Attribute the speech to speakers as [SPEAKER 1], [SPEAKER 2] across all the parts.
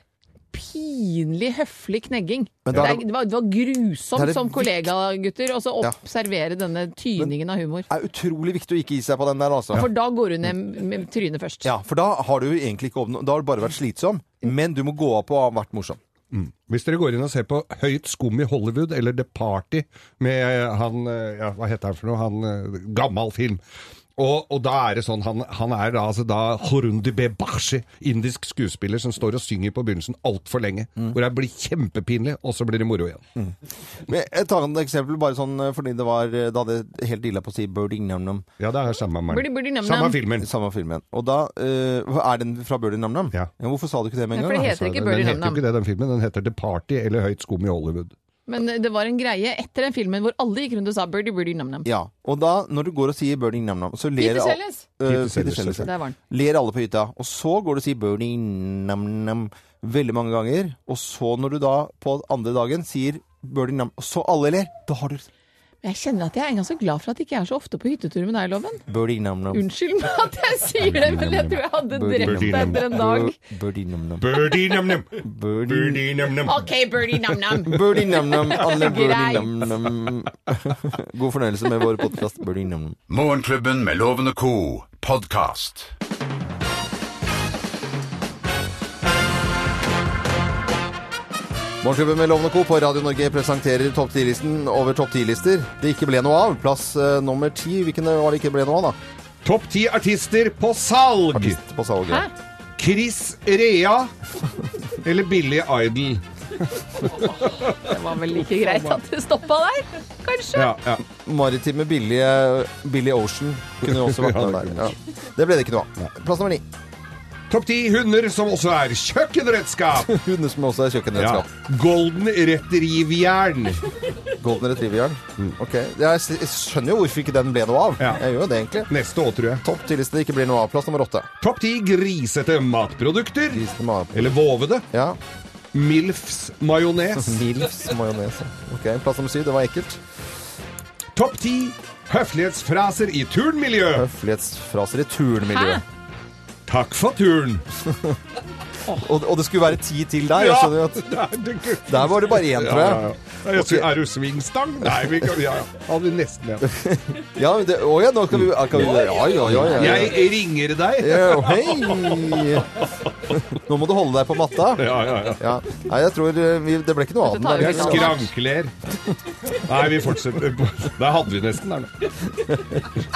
[SPEAKER 1] pinlig høflig knegging.
[SPEAKER 2] Men
[SPEAKER 1] Det,
[SPEAKER 2] da er
[SPEAKER 1] er,
[SPEAKER 2] det-
[SPEAKER 1] det, var, det var grusomt
[SPEAKER 2] Det er det
[SPEAKER 1] som kollegagutter å så
[SPEAKER 2] Ja.
[SPEAKER 1] observere denne tyningen av humor.
[SPEAKER 2] Det er utrolig viktig å ikke gi seg på den der, altså.
[SPEAKER 1] For da går hun ned med trynet først.
[SPEAKER 2] Ja, for da har du jo egentlig ikke oppnå- Da har du bare vært slitsom, men du må gå av på å ha vært morsom.
[SPEAKER 3] Hvis dere går inn og ser på Høyt skum i Hollywood eller The Party med eh, han eh, ja, Hva heter han for noe? Han, eh, gammel film. Og, og da er det sånn, han, han er da, altså da Horundi Bebashi, indisk skuespiller som står og synger på begynnelsen altfor lenge. Hvor det blir kjempepinlig, og så blir det moro igjen.
[SPEAKER 2] Men jeg tar et eksempel bare sånn eh, fordi det var eh, Da hadde jeg helt dilla på å si Birdie Nam-Nam.
[SPEAKER 3] Ja, det er samme, mann.
[SPEAKER 1] Burde- burde nevne
[SPEAKER 3] samme
[SPEAKER 1] ham.
[SPEAKER 3] filmen.
[SPEAKER 2] Samme filmen. Og da eh, hva Er den fra Birdie Nam-Nam?
[SPEAKER 3] Ja.
[SPEAKER 2] Hvorfor sa du ikke det med en gang?
[SPEAKER 1] Ja, for det
[SPEAKER 2] da?
[SPEAKER 1] heter ikke
[SPEAKER 3] Den
[SPEAKER 1] Birdie
[SPEAKER 3] heter jo
[SPEAKER 1] Nam-Nam.
[SPEAKER 3] ikke det, den filmen. Den heter The Party eller Høyt skum i Hollywood.
[SPEAKER 1] Men det var en greie etter den filmen hvor alle gikk rundt og sa birdie birdie nam nam.
[SPEAKER 2] Ja. Og da, når du går og sier Birdie Nam-Nam, så ler
[SPEAKER 1] Peter
[SPEAKER 2] al-
[SPEAKER 1] Sellers.
[SPEAKER 2] Eh,
[SPEAKER 3] Peter
[SPEAKER 2] Peter
[SPEAKER 3] Sellers,
[SPEAKER 2] Sellers, ja.
[SPEAKER 1] Der var han.
[SPEAKER 2] Ler alle på hytta. Og så går du og sier Birdie Nam-Nam veldig mange ganger. Og så når du da på andre dagen sier Birdie Nam, og så alle ler, da har du
[SPEAKER 1] Men jeg kjenner at jeg er en gang så glad for at jeg ikke er så ofte på hyttetur med deg, Loven.
[SPEAKER 2] Birdie Nam-Nam.
[SPEAKER 1] Unnskyld meg at jeg sier det, men jeg tror jeg hadde
[SPEAKER 2] Birdie
[SPEAKER 1] drept deg
[SPEAKER 3] nam nam.
[SPEAKER 1] etter en dag.
[SPEAKER 2] Bur- Birdie Nam-Nam.
[SPEAKER 3] Birdie nam-nam!
[SPEAKER 2] Birdie
[SPEAKER 3] Birdie nam-nam!
[SPEAKER 1] OK, birdie nam nam.
[SPEAKER 2] Birdie nam-nam, alle birdie
[SPEAKER 1] Grei.
[SPEAKER 2] nam-nam. God fornøyelse med vår podkast Birdie nam-nam.
[SPEAKER 4] Morgenklubben med Loven og co. podkast.
[SPEAKER 2] Morgenklubben med Lovende Co. på Radio Norge presenterer topp 10-listen over topp 10-lister det ikke ble noe av. Plass eh, nummer ti. Hvilken var det ikke ble noe av, da?
[SPEAKER 3] Topp ti artister på salg!
[SPEAKER 2] Artist på
[SPEAKER 1] Hæ?
[SPEAKER 2] salget.
[SPEAKER 3] Chris Rea eller Billy Idol.
[SPEAKER 1] Det var vel like greit at det stoppa der, kanskje?
[SPEAKER 3] Ja, ja.
[SPEAKER 2] Maritime billige Billy Ocean kunne jo også vært
[SPEAKER 3] Ja,
[SPEAKER 2] med
[SPEAKER 3] det
[SPEAKER 2] der. Ja. Det ble det ikke noe av. Plass nummer ni.
[SPEAKER 3] Topp ti hunder som også er kjøkkenredskap.
[SPEAKER 2] Hunder som også er
[SPEAKER 3] Ja.
[SPEAKER 2] kjøkkenredskap.
[SPEAKER 3] Golden retrieverjern.
[SPEAKER 2] Golden retriever-jern. Ok. Jeg s- jeg skjønner jo hvorfor ikke den ble noe av.
[SPEAKER 3] Mm. Ja.
[SPEAKER 2] Jeg gjør jo det, egentlig.
[SPEAKER 3] Neste år, tror jeg.
[SPEAKER 2] Topp 10-liste det ikke blir noe av. Plass nummer åtte.
[SPEAKER 3] Topp ti grisete matprodukter.
[SPEAKER 2] Grisen med ap-
[SPEAKER 3] Eller vovede.
[SPEAKER 2] Ja.
[SPEAKER 3] Milfs majones.
[SPEAKER 2] Milfs majones. Ok, plass nummer syv. Det var ekkelt.
[SPEAKER 3] Topp ti høflighetsfraser i turnmiljø.
[SPEAKER 2] Høflighetsfraser i turnmiljøet.
[SPEAKER 1] Hæ?
[SPEAKER 3] Takk for turen.
[SPEAKER 2] Og, og det skulle være ti til der. Jeg skjønner jo at
[SPEAKER 3] Ja, det er det-
[SPEAKER 2] der var det bare én,
[SPEAKER 3] Ja,
[SPEAKER 2] tror
[SPEAKER 3] ja,
[SPEAKER 2] jeg.
[SPEAKER 3] ja. Jeg sier, Er du svingstang? Nei, vi kan, ja, ja. Hadde nesten ja.
[SPEAKER 2] Ja, men det, å ja, nå kan vi, kan vi Ja, ja, ja. ja, ja.
[SPEAKER 3] Jeg ringer deg.
[SPEAKER 2] Ja, hei! Nå må du holde deg på matta.
[SPEAKER 3] Ja, ja, ja.
[SPEAKER 2] Ja. Nei, jeg tror eh, vi, det ble ikke noe av den.
[SPEAKER 1] tar vi
[SPEAKER 2] der.
[SPEAKER 3] Jeg
[SPEAKER 1] ikke nå.
[SPEAKER 3] skrankler. Nei, vi fortsetter. Der hadde vi nesten der nå.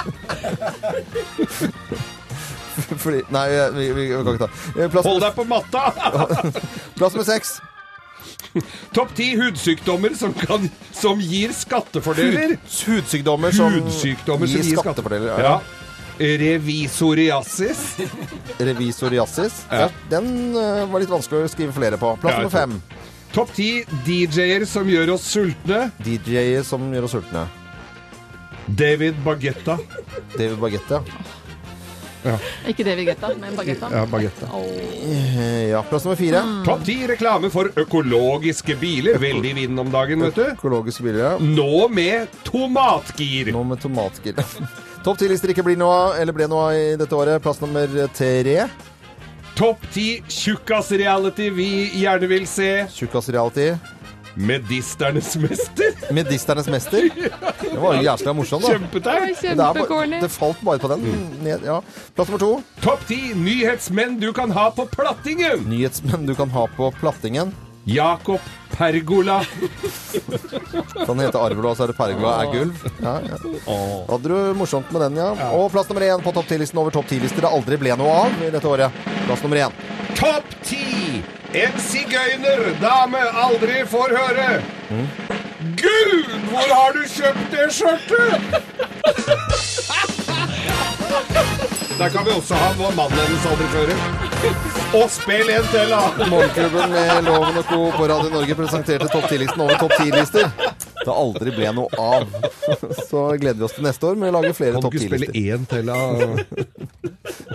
[SPEAKER 2] Fordi, nei, vi, vi, vi kan ikke ta Eh, Plass,
[SPEAKER 3] Hold deg på matta!
[SPEAKER 2] plass med seks.
[SPEAKER 3] Topp ti hudsykdommer som, kan, som gir skattefordeler.
[SPEAKER 2] Hudsykdommer som
[SPEAKER 3] Hudsykdommer som
[SPEAKER 2] gir
[SPEAKER 3] gir
[SPEAKER 2] skattefordeler.
[SPEAKER 3] skattefordeler. Ja. Revisoriasis.
[SPEAKER 2] Revisoriasis.
[SPEAKER 3] Ja.
[SPEAKER 2] Den eh, var litt vanskelig å skrive flere på. Plass
[SPEAKER 3] Ja, jeg
[SPEAKER 2] nummer fem.
[SPEAKER 3] Topp ti DJ-er som gjør oss sultne.
[SPEAKER 2] DJ-er som gjør oss sultne.
[SPEAKER 3] David Bagetta.
[SPEAKER 2] David Bagette. ja.
[SPEAKER 1] Ikke det vi getta, men bagetta.
[SPEAKER 3] Ja, bagetta.
[SPEAKER 2] Eh, Ja, plass nummer fire.
[SPEAKER 3] Topp ti reklame for økologiske biler. Veldig i vinden om dagen, vet du.
[SPEAKER 2] Økologiske biler, ja.
[SPEAKER 3] Nå med tomatgir.
[SPEAKER 2] Nå med tomatgill. Topp ti-lister ikke blir noe av, eller ble noe av i dette året. Plass nummer tre.
[SPEAKER 3] Topp ti tjukkas-reality vi gjerne vil se.
[SPEAKER 2] Tjukkas reality.
[SPEAKER 3] Medisternes mester.
[SPEAKER 2] Medisternes mester. Det var jo jævla morsomt, da.
[SPEAKER 3] Kjempeteit.
[SPEAKER 2] Men det er bare-
[SPEAKER 1] Kjempecorny.
[SPEAKER 2] Det falt bare på den. Mm, Ned, ja. Plass nummer to.
[SPEAKER 3] Topp ti nyhetsmenn du kan ha på plattingen.
[SPEAKER 2] Nyhetsmenn du kan ha på plattingen.
[SPEAKER 3] Jakob Pergola.
[SPEAKER 2] Kan hete Sånn Arvelo, og så er det Pergola er gulv. Ja, ja. Da hadde du morsomt med den, ja. Og plass nummer én på topp ti-listen over topp ti-lister det aldri ble noe av i dette året. Plass nummer én.
[SPEAKER 3] Topp ti! En sigøynerdame aldri får høre. Gud, hvor har du kjøpt det skjørtet? Der kan vi også ha hva mannen hennes aldri fører. Og spill en til, da!
[SPEAKER 2] Morgenklubben med Loven og Co. på Radio Norge presenterte topp 10-listen over topp 10-lister. Det aldri ble noe av. Så gleder vi oss til neste år med å lage flere topp 10-lister.
[SPEAKER 3] én til, da?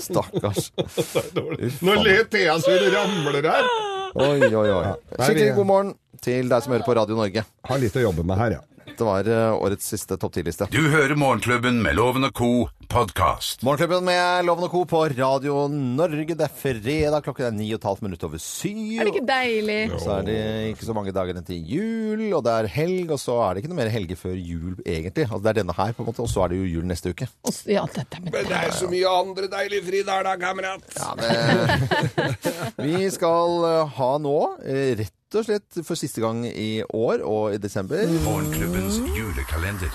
[SPEAKER 2] Stakkars.
[SPEAKER 3] Nå ler Thea så det ramler her.
[SPEAKER 2] Oi, oi, oi. Skikkelig god morgen til deg som hører på Radio Norge.
[SPEAKER 3] Har litt å jobbe med her, ja.
[SPEAKER 2] Det var eh, årets siste topp 10-liste.
[SPEAKER 4] Du hører Morgenklubben med Loven og Co. podkast.
[SPEAKER 2] Morgenklubben med Loven og Co. på Radio Norge. Det er fredag, klokken er ni og et halvt minutt over syv.
[SPEAKER 1] Er det ikke deilig?
[SPEAKER 2] Så er det ikke så mange dager til jul, og det er helg, og så er det ikke noe mer helge før jul, egentlig. Altså, det er denne her, på en måte, og så er det jo jul neste uke.
[SPEAKER 1] Og s- Ja, dette er
[SPEAKER 3] Men det er så mye andre deilige fridager, da, kamerat.
[SPEAKER 2] Vi skal eh, ha nå, eh, rett og slett for siste gang i år og i desember,
[SPEAKER 4] Morgenklubbens julekalender.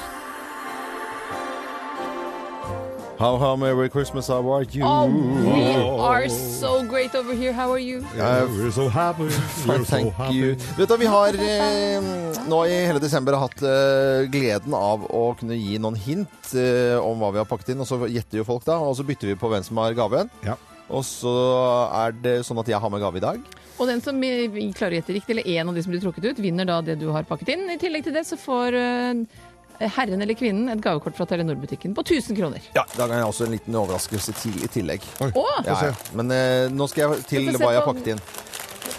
[SPEAKER 2] How How Merry Christmas How Are You?
[SPEAKER 1] Oh, we are so great over here. How are you?
[SPEAKER 3] We're so Altså, happy. We're
[SPEAKER 2] Eh, Thank you. Vet du, vi har eh, nå i hele desember hatt eh, gleden av å kunne gi noen hint eh, om hva vi har pakket inn, og så gjetter jo folk da, og så bytter vi på hvem som har gaven.
[SPEAKER 3] Ja.
[SPEAKER 2] Og så er det sånn at jeg har med gave i dag.
[SPEAKER 1] Og den som eh, klarer å gjette riktig, eller én av de som blir trukket ut, vinner da det du har pakket inn. I tillegg til det så får eh, herren eller kvinnen et gavekort fra Telenor-butikken på 1000 kroner.
[SPEAKER 2] Ja. Da har jeg også en liten overraskelse til i tillegg.
[SPEAKER 1] Å!
[SPEAKER 2] Ja, ja. Men eh, nå skal jeg til
[SPEAKER 1] Vi får se
[SPEAKER 2] hva jeg har
[SPEAKER 1] på-
[SPEAKER 2] pakket inn.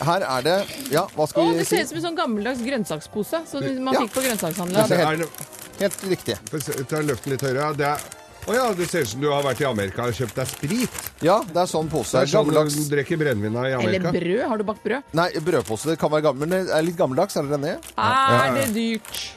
[SPEAKER 2] Her er det Ja, hva
[SPEAKER 1] Å,
[SPEAKER 2] skal vi
[SPEAKER 1] det
[SPEAKER 2] si?
[SPEAKER 1] ser ut som en sånn gammeldags grønnsakspose som man
[SPEAKER 2] Ja.
[SPEAKER 1] fikk på
[SPEAKER 2] Ja,
[SPEAKER 1] grønnsakshandelen.
[SPEAKER 2] det-
[SPEAKER 3] Er det-
[SPEAKER 2] Helt riktig.
[SPEAKER 3] Få se- Ta løften litt høyere. ja. Det er å ja, det ser ut som du har vært i Amerika og kjøpt deg sprit.
[SPEAKER 2] Ja, det er sånn pose. Det
[SPEAKER 3] Det er
[SPEAKER 2] er
[SPEAKER 3] sånn
[SPEAKER 2] gammeldags
[SPEAKER 3] du drikker brennevin av i
[SPEAKER 1] Eller
[SPEAKER 3] Amerika.
[SPEAKER 1] brød. Har du bakt brød?
[SPEAKER 2] Nei, brødpose. Det kan være gammel, men det er litt gammeldags, er det denne?
[SPEAKER 1] Er det dyrt?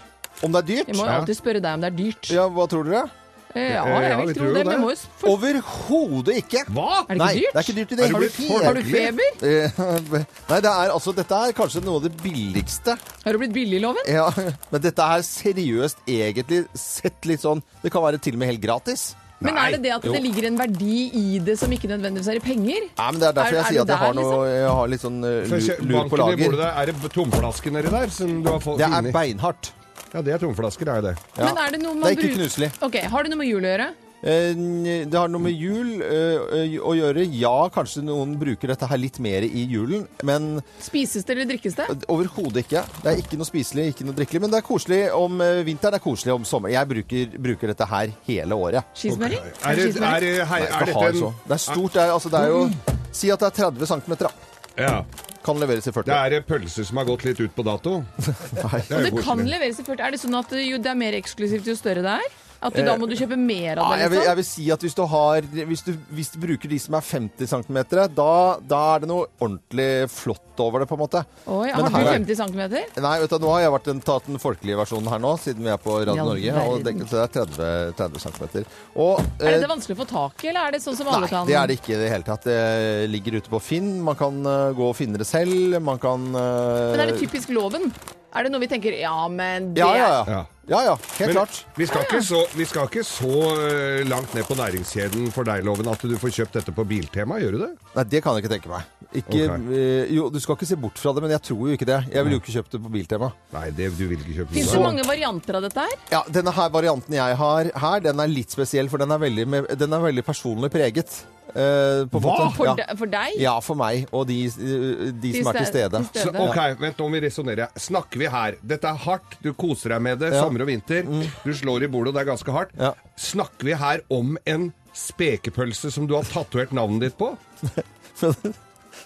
[SPEAKER 2] Om det er dyrt?
[SPEAKER 1] Vi må jo
[SPEAKER 3] Ja.
[SPEAKER 1] alltid spørre deg om det er dyrt.
[SPEAKER 2] Ja, hva tror dere?
[SPEAKER 1] Eh, Ja,
[SPEAKER 3] Ja,
[SPEAKER 1] jeg
[SPEAKER 3] vi
[SPEAKER 1] vil
[SPEAKER 3] tror
[SPEAKER 1] tro
[SPEAKER 3] jo
[SPEAKER 1] det.
[SPEAKER 3] det.
[SPEAKER 1] Vi må jo s- for...
[SPEAKER 2] Overhodet ikke!
[SPEAKER 3] Hva?
[SPEAKER 1] Er det ikke
[SPEAKER 2] Nei,
[SPEAKER 1] dyrt?
[SPEAKER 2] det er ikke dyrt i det
[SPEAKER 3] Er du
[SPEAKER 2] hele
[SPEAKER 3] blitt
[SPEAKER 2] tatt.
[SPEAKER 1] Har du feber?
[SPEAKER 2] Nei, det er altså Dette er kanskje noe av det billigste.
[SPEAKER 1] Har du blitt billig i loven?
[SPEAKER 2] Ja, men dette er seriøst egentlig sett litt sånn Det kan være til og med helt gratis.
[SPEAKER 1] Men
[SPEAKER 3] Nei.
[SPEAKER 1] er det det at det ligger en verdi i det som ikke nødvendigvis er i penger?
[SPEAKER 2] Nei, men Det er derfor
[SPEAKER 1] Er-
[SPEAKER 2] jeg
[SPEAKER 1] er
[SPEAKER 2] sier at
[SPEAKER 1] det
[SPEAKER 2] jeg har,
[SPEAKER 1] der, liksom?
[SPEAKER 2] noe, jeg har litt sånn eh,
[SPEAKER 3] For
[SPEAKER 2] lur,
[SPEAKER 3] kjø-
[SPEAKER 2] lur på
[SPEAKER 3] banken i
[SPEAKER 2] lager.
[SPEAKER 3] bordet der, Er det tomflaske nedi der? Som du har fått
[SPEAKER 2] Det er
[SPEAKER 3] inni?
[SPEAKER 2] beinhardt.
[SPEAKER 3] Ja, det er tomflasker, er det.
[SPEAKER 2] Ja.
[SPEAKER 1] Men er det noe
[SPEAKER 2] Det
[SPEAKER 1] man
[SPEAKER 2] er ikke
[SPEAKER 1] bruker
[SPEAKER 2] knuselig.
[SPEAKER 1] Ok, Har det noe med jul å gjøre?
[SPEAKER 2] Eh, Det har noe med jul eh, å gjøre. Ja, kanskje noen bruker dette her litt mer i julen, men
[SPEAKER 1] Spises det eller drikkes det?
[SPEAKER 2] overhodet ikke. Det er ikke noe spiselig, ikke noe drikkelig, men det er koselig om eh, vinteren, det er koselig om sommeren. Jeg bruker, bruker dette her hele året.
[SPEAKER 1] Cheeseburger?
[SPEAKER 3] Er, det, er,
[SPEAKER 1] cheeseburger?
[SPEAKER 3] det, hei,
[SPEAKER 2] Jeg
[SPEAKER 3] er
[SPEAKER 2] skal
[SPEAKER 3] dette
[SPEAKER 2] ha sånn.
[SPEAKER 3] en
[SPEAKER 2] så- Det er stort, det er, altså, det er jo Si at det er 30 cm, da.
[SPEAKER 3] ja.
[SPEAKER 2] Kan leveres i
[SPEAKER 3] Det
[SPEAKER 2] 40.
[SPEAKER 3] er pølser som har gått litt ut på dato.
[SPEAKER 2] Nei.
[SPEAKER 3] er
[SPEAKER 1] Og Altså, det
[SPEAKER 3] koselig.
[SPEAKER 1] kan leveres i 40. Er det sånn at jo, det er mer eksklusivt jo større det er? At du, da må du kjøpe
[SPEAKER 2] Eh,
[SPEAKER 1] mer
[SPEAKER 2] Ja,
[SPEAKER 1] av det?
[SPEAKER 2] jeg, vil,
[SPEAKER 1] Liksom?
[SPEAKER 2] jeg vil si at hvis du, har, hvis, du, hvis du bruker de som er 50 cm, da, da er det noe ordentlig flott over det, på en måte.
[SPEAKER 1] Oi,
[SPEAKER 2] Men
[SPEAKER 1] har du
[SPEAKER 2] her er-
[SPEAKER 1] 50 cm?
[SPEAKER 2] Nei, vet du, nå har jeg vært en, tatt den folkelige versjonen her nå, siden vi er på Radio
[SPEAKER 1] Ja,
[SPEAKER 2] Norge. Og det,
[SPEAKER 1] verden.
[SPEAKER 2] så det er 30, 30 cm. Og,
[SPEAKER 1] Er det
[SPEAKER 2] eh,
[SPEAKER 1] det vanskelig å få tak i, eller er det sånn som alle
[SPEAKER 2] Nei,
[SPEAKER 1] kan?
[SPEAKER 2] det er det ikke i det hele tatt. Det ligger ute på Finn. Man kan eh, gå og finne det selv. Man kan eh,
[SPEAKER 1] Men er det typisk loven? Er det noe vi tenker ja, men det
[SPEAKER 2] Ja, ja,
[SPEAKER 1] er
[SPEAKER 2] ja.
[SPEAKER 3] Ja.
[SPEAKER 2] ja, ja. Helt
[SPEAKER 3] Men
[SPEAKER 2] klart.
[SPEAKER 3] vi skal ikke så, vi skal ikke så eh, langt ned på næringskjeden for deg, Loven, at du får kjøpt dette på Biltema. Gjør du det?
[SPEAKER 2] Nei, det kan jeg ikke tenke meg. Ikke,
[SPEAKER 3] Ok.
[SPEAKER 2] eh, jo, du skal ikke se bort fra det, men jeg tror jo ikke det. Jeg ville jo ikke kjøpt det på Biltema.
[SPEAKER 3] Nei, det, du vil ikke kjøpe
[SPEAKER 1] Fins
[SPEAKER 3] noe.
[SPEAKER 1] det mange varianter av dette her?
[SPEAKER 2] Ja, denne her varianten jeg har her, den er litt spesiell, for den er veldig, med- den er veldig personlig preget. eh, på en
[SPEAKER 3] Hva?
[SPEAKER 2] måte.
[SPEAKER 1] For,
[SPEAKER 2] Ja.
[SPEAKER 1] de, for deg?
[SPEAKER 2] ja, for meg og de, eh, de som er til
[SPEAKER 1] ste-
[SPEAKER 2] stede.
[SPEAKER 3] Så,
[SPEAKER 1] stede.
[SPEAKER 3] ok, vent, nå må vi resonnere. Snakker vi her? Dette er hardt, du koser deg med det,
[SPEAKER 2] Ja. Mm.
[SPEAKER 3] sommer og vinter. Du slår i bordet, og det er ganske hardt.
[SPEAKER 2] Ja.
[SPEAKER 3] Snakker vi her om en spekepølse som du har tatovert navnet ditt på?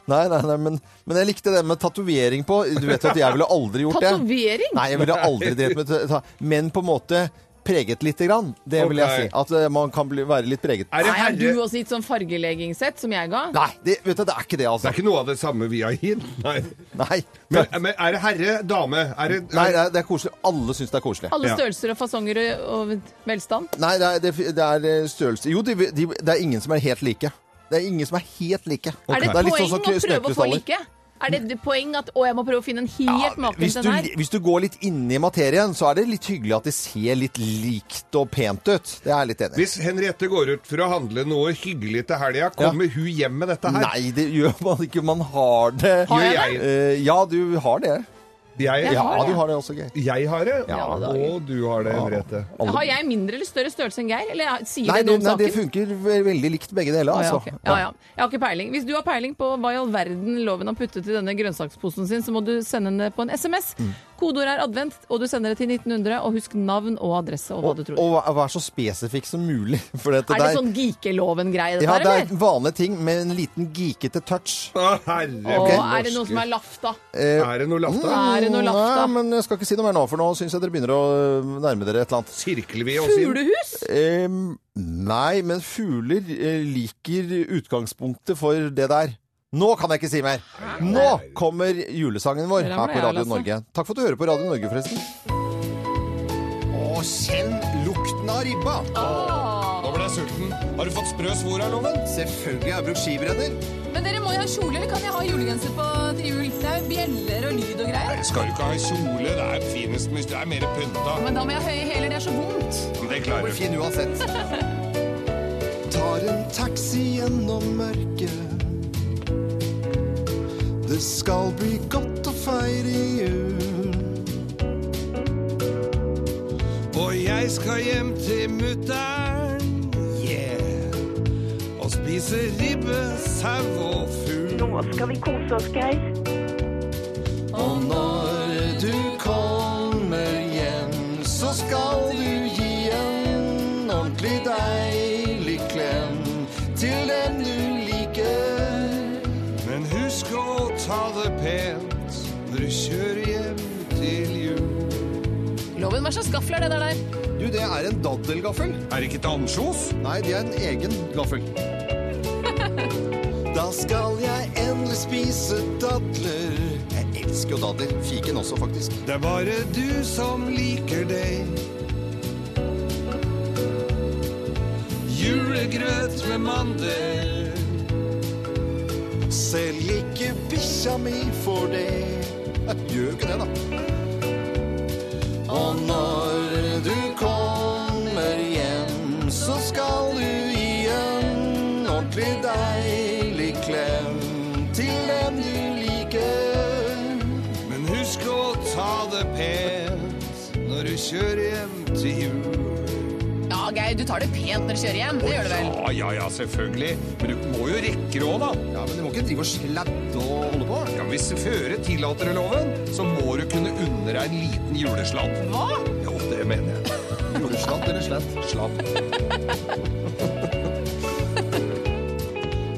[SPEAKER 2] Nei, nei, nei, men, men jeg likte det med tatovering på. Du vet jo at jeg ville aldri gjort det.
[SPEAKER 1] Tatovering?
[SPEAKER 2] Nei, jeg ville aldri drevet med ta- Men på en måte preget lite grann. Det vil jeg
[SPEAKER 3] Ok.
[SPEAKER 2] si. At eh, man kan bli, være litt preget.
[SPEAKER 3] Er det,
[SPEAKER 1] Nei, har
[SPEAKER 3] herre...
[SPEAKER 1] du også gitt sånn fargeleggingsett som jeg ga?
[SPEAKER 2] Nei, det, vet du, det er ikke det,
[SPEAKER 3] det
[SPEAKER 2] altså.
[SPEAKER 3] er ikke noe av det samme vi har gitt? Nei.
[SPEAKER 2] Nei.
[SPEAKER 3] Men, men er det herre, dame? Er det,
[SPEAKER 2] Nei, det er, det er koselig. Alle syns det er koselig.
[SPEAKER 1] Alle
[SPEAKER 3] Ja.
[SPEAKER 1] størrelser og fasonger og og velstand?
[SPEAKER 2] Nei, det er, det, det er eh, størrelse Jo, de, de, det er ingen som er helt like. Det er ingen som er helt like.
[SPEAKER 1] Er
[SPEAKER 2] er
[SPEAKER 1] det et
[SPEAKER 2] litt sånn som
[SPEAKER 1] poeng å prøve å få
[SPEAKER 2] snøkrystaller.
[SPEAKER 1] like? Er det et poeng at å, jeg må prøve å finne en helt maken
[SPEAKER 2] hvis,
[SPEAKER 1] til
[SPEAKER 2] du,
[SPEAKER 1] den her?
[SPEAKER 2] hvis du går litt inn i materien, så er det litt hyggelig at det ser litt likt og pent ut. Det er jeg litt enig i.
[SPEAKER 3] Hvis Henriette går ut for å handle noe hyggelig til helga, kommer hun hjem med dette her?
[SPEAKER 2] Nei, det gjør man ikke. Man har det.
[SPEAKER 1] Har jeg
[SPEAKER 3] Gjør jeg det?
[SPEAKER 2] Eh, ja, du har det.
[SPEAKER 3] Jeg,
[SPEAKER 2] Ja,
[SPEAKER 1] har det.
[SPEAKER 2] du har det også, Geir.
[SPEAKER 3] jeg har det,
[SPEAKER 1] Ja, det har jeg.
[SPEAKER 3] og du har det, Henriette.
[SPEAKER 1] Har jeg mindre eller større størrelse enn Geir? Eller sier
[SPEAKER 2] Nei,
[SPEAKER 1] det
[SPEAKER 2] det,
[SPEAKER 1] noe om
[SPEAKER 2] nei, det
[SPEAKER 1] saken?
[SPEAKER 2] funker ve- veldig likt begge deler,
[SPEAKER 1] Å, Ah, ja,
[SPEAKER 2] altså.
[SPEAKER 1] ok. ja, ja. Jeg har ikke peiling. Hvis du har peiling på hva i all verden loven har puttet i denne grønnsaksposen sin, så må du sende den på en SMS.
[SPEAKER 2] Mm.
[SPEAKER 1] Kodeord er advent, og du sender det til 1900. Og husk navn og adresse og hva du
[SPEAKER 2] Og,
[SPEAKER 1] tror.
[SPEAKER 2] og vær- vær så spesifikk som mulig. For dette
[SPEAKER 1] er det
[SPEAKER 2] der-
[SPEAKER 1] sånn geekeloven-greie, dette
[SPEAKER 2] Ja, det
[SPEAKER 1] her,
[SPEAKER 2] er
[SPEAKER 1] eller?
[SPEAKER 2] vanlige ting med en liten geekete touch.
[SPEAKER 3] Å, herre
[SPEAKER 1] Og
[SPEAKER 3] min
[SPEAKER 1] er det noe
[SPEAKER 3] norske.
[SPEAKER 1] som er Mm. lafta?
[SPEAKER 2] Eh,
[SPEAKER 3] Er det noe lafta?
[SPEAKER 1] Er det noe lafta?
[SPEAKER 2] Mm, Nei, men jeg skal ikke si noe mer nå, for nå syns jeg dere begynner å øh, nærme dere et eller annet.
[SPEAKER 3] Sirkler vi oss inn?
[SPEAKER 1] Fuglehus?
[SPEAKER 2] Em, nei, men fugler eh, liker utgangspunktet for det der. Nå kan jeg ikke si mer! Nå kommer julesangen vår
[SPEAKER 1] Der
[SPEAKER 2] her
[SPEAKER 1] ble
[SPEAKER 2] på
[SPEAKER 1] jeg,
[SPEAKER 2] Radio
[SPEAKER 1] Lasse.
[SPEAKER 2] Norge. Takk for at du hører på Radio Norge, forresten. Og kjenn lukten av ribba!
[SPEAKER 5] Nå ble jeg sulten. Har du fått sprø svor av loven?
[SPEAKER 2] Selvfølgelig har jeg brukt skibredder.
[SPEAKER 6] Men dere må jo ha kjole, eller kan jeg ha julegenser på til jul? Det er jo bjeller og lyd og greier.
[SPEAKER 5] Jeg skal jo ikke ha kjole. Det er finest med Det er mer pynta.
[SPEAKER 6] Men da må jeg ha høye hæler, det er så vondt.
[SPEAKER 5] Men det klarer du.
[SPEAKER 2] Fin uansett.
[SPEAKER 7] Tar en taxi gjennom mørket. Det skal bli godt å feire jul.
[SPEAKER 5] Og jeg skal hjem til mutter'n. Yeah. Og spise ribbe, sau og fugl.
[SPEAKER 8] Nå skal vi kose oss, Geir.
[SPEAKER 7] Og når du kommer hjem, så skal du gi en ordentlig deilig klem til den du liker.
[SPEAKER 5] Men husk å ta det pent når du kjører hjem til jul.
[SPEAKER 6] Loven, hva slags gaffel er det der der?
[SPEAKER 2] Du, det er en daddelgaffel.
[SPEAKER 5] Er det ikke til ansjos?
[SPEAKER 2] Nei, det er en egen gaffel.
[SPEAKER 7] Da skal jeg endelig spise dadler.
[SPEAKER 2] Jeg elsker jo dadler. Fiken også, faktisk.
[SPEAKER 5] Det er bare du som liker det. Julegrøt med mandel.
[SPEAKER 7] Selv ikke bikkja mi får det.
[SPEAKER 2] Gjør jo ikke det, da.
[SPEAKER 7] Og når du kommer hjem, så skal du gi en ordentlig deilig klem til den du liker.
[SPEAKER 5] Men husk å ta det pent når du kjører hjem til jul.
[SPEAKER 6] Ja, Geir, du tar det pent når du kjører hjem. Det gjør du vel.
[SPEAKER 5] Ja, ja, ja, selvfølgelig. Men du må jo rekke det òg, da.
[SPEAKER 2] Ja, Men du må ikke drive og sladde og holde på.
[SPEAKER 5] Ja, men hvis føret tillater det loven, så må du kunne unne deg en liten julesladd. Hva? Jo, det mener jeg.
[SPEAKER 2] Julesladd eller sladd?
[SPEAKER 5] Sladd.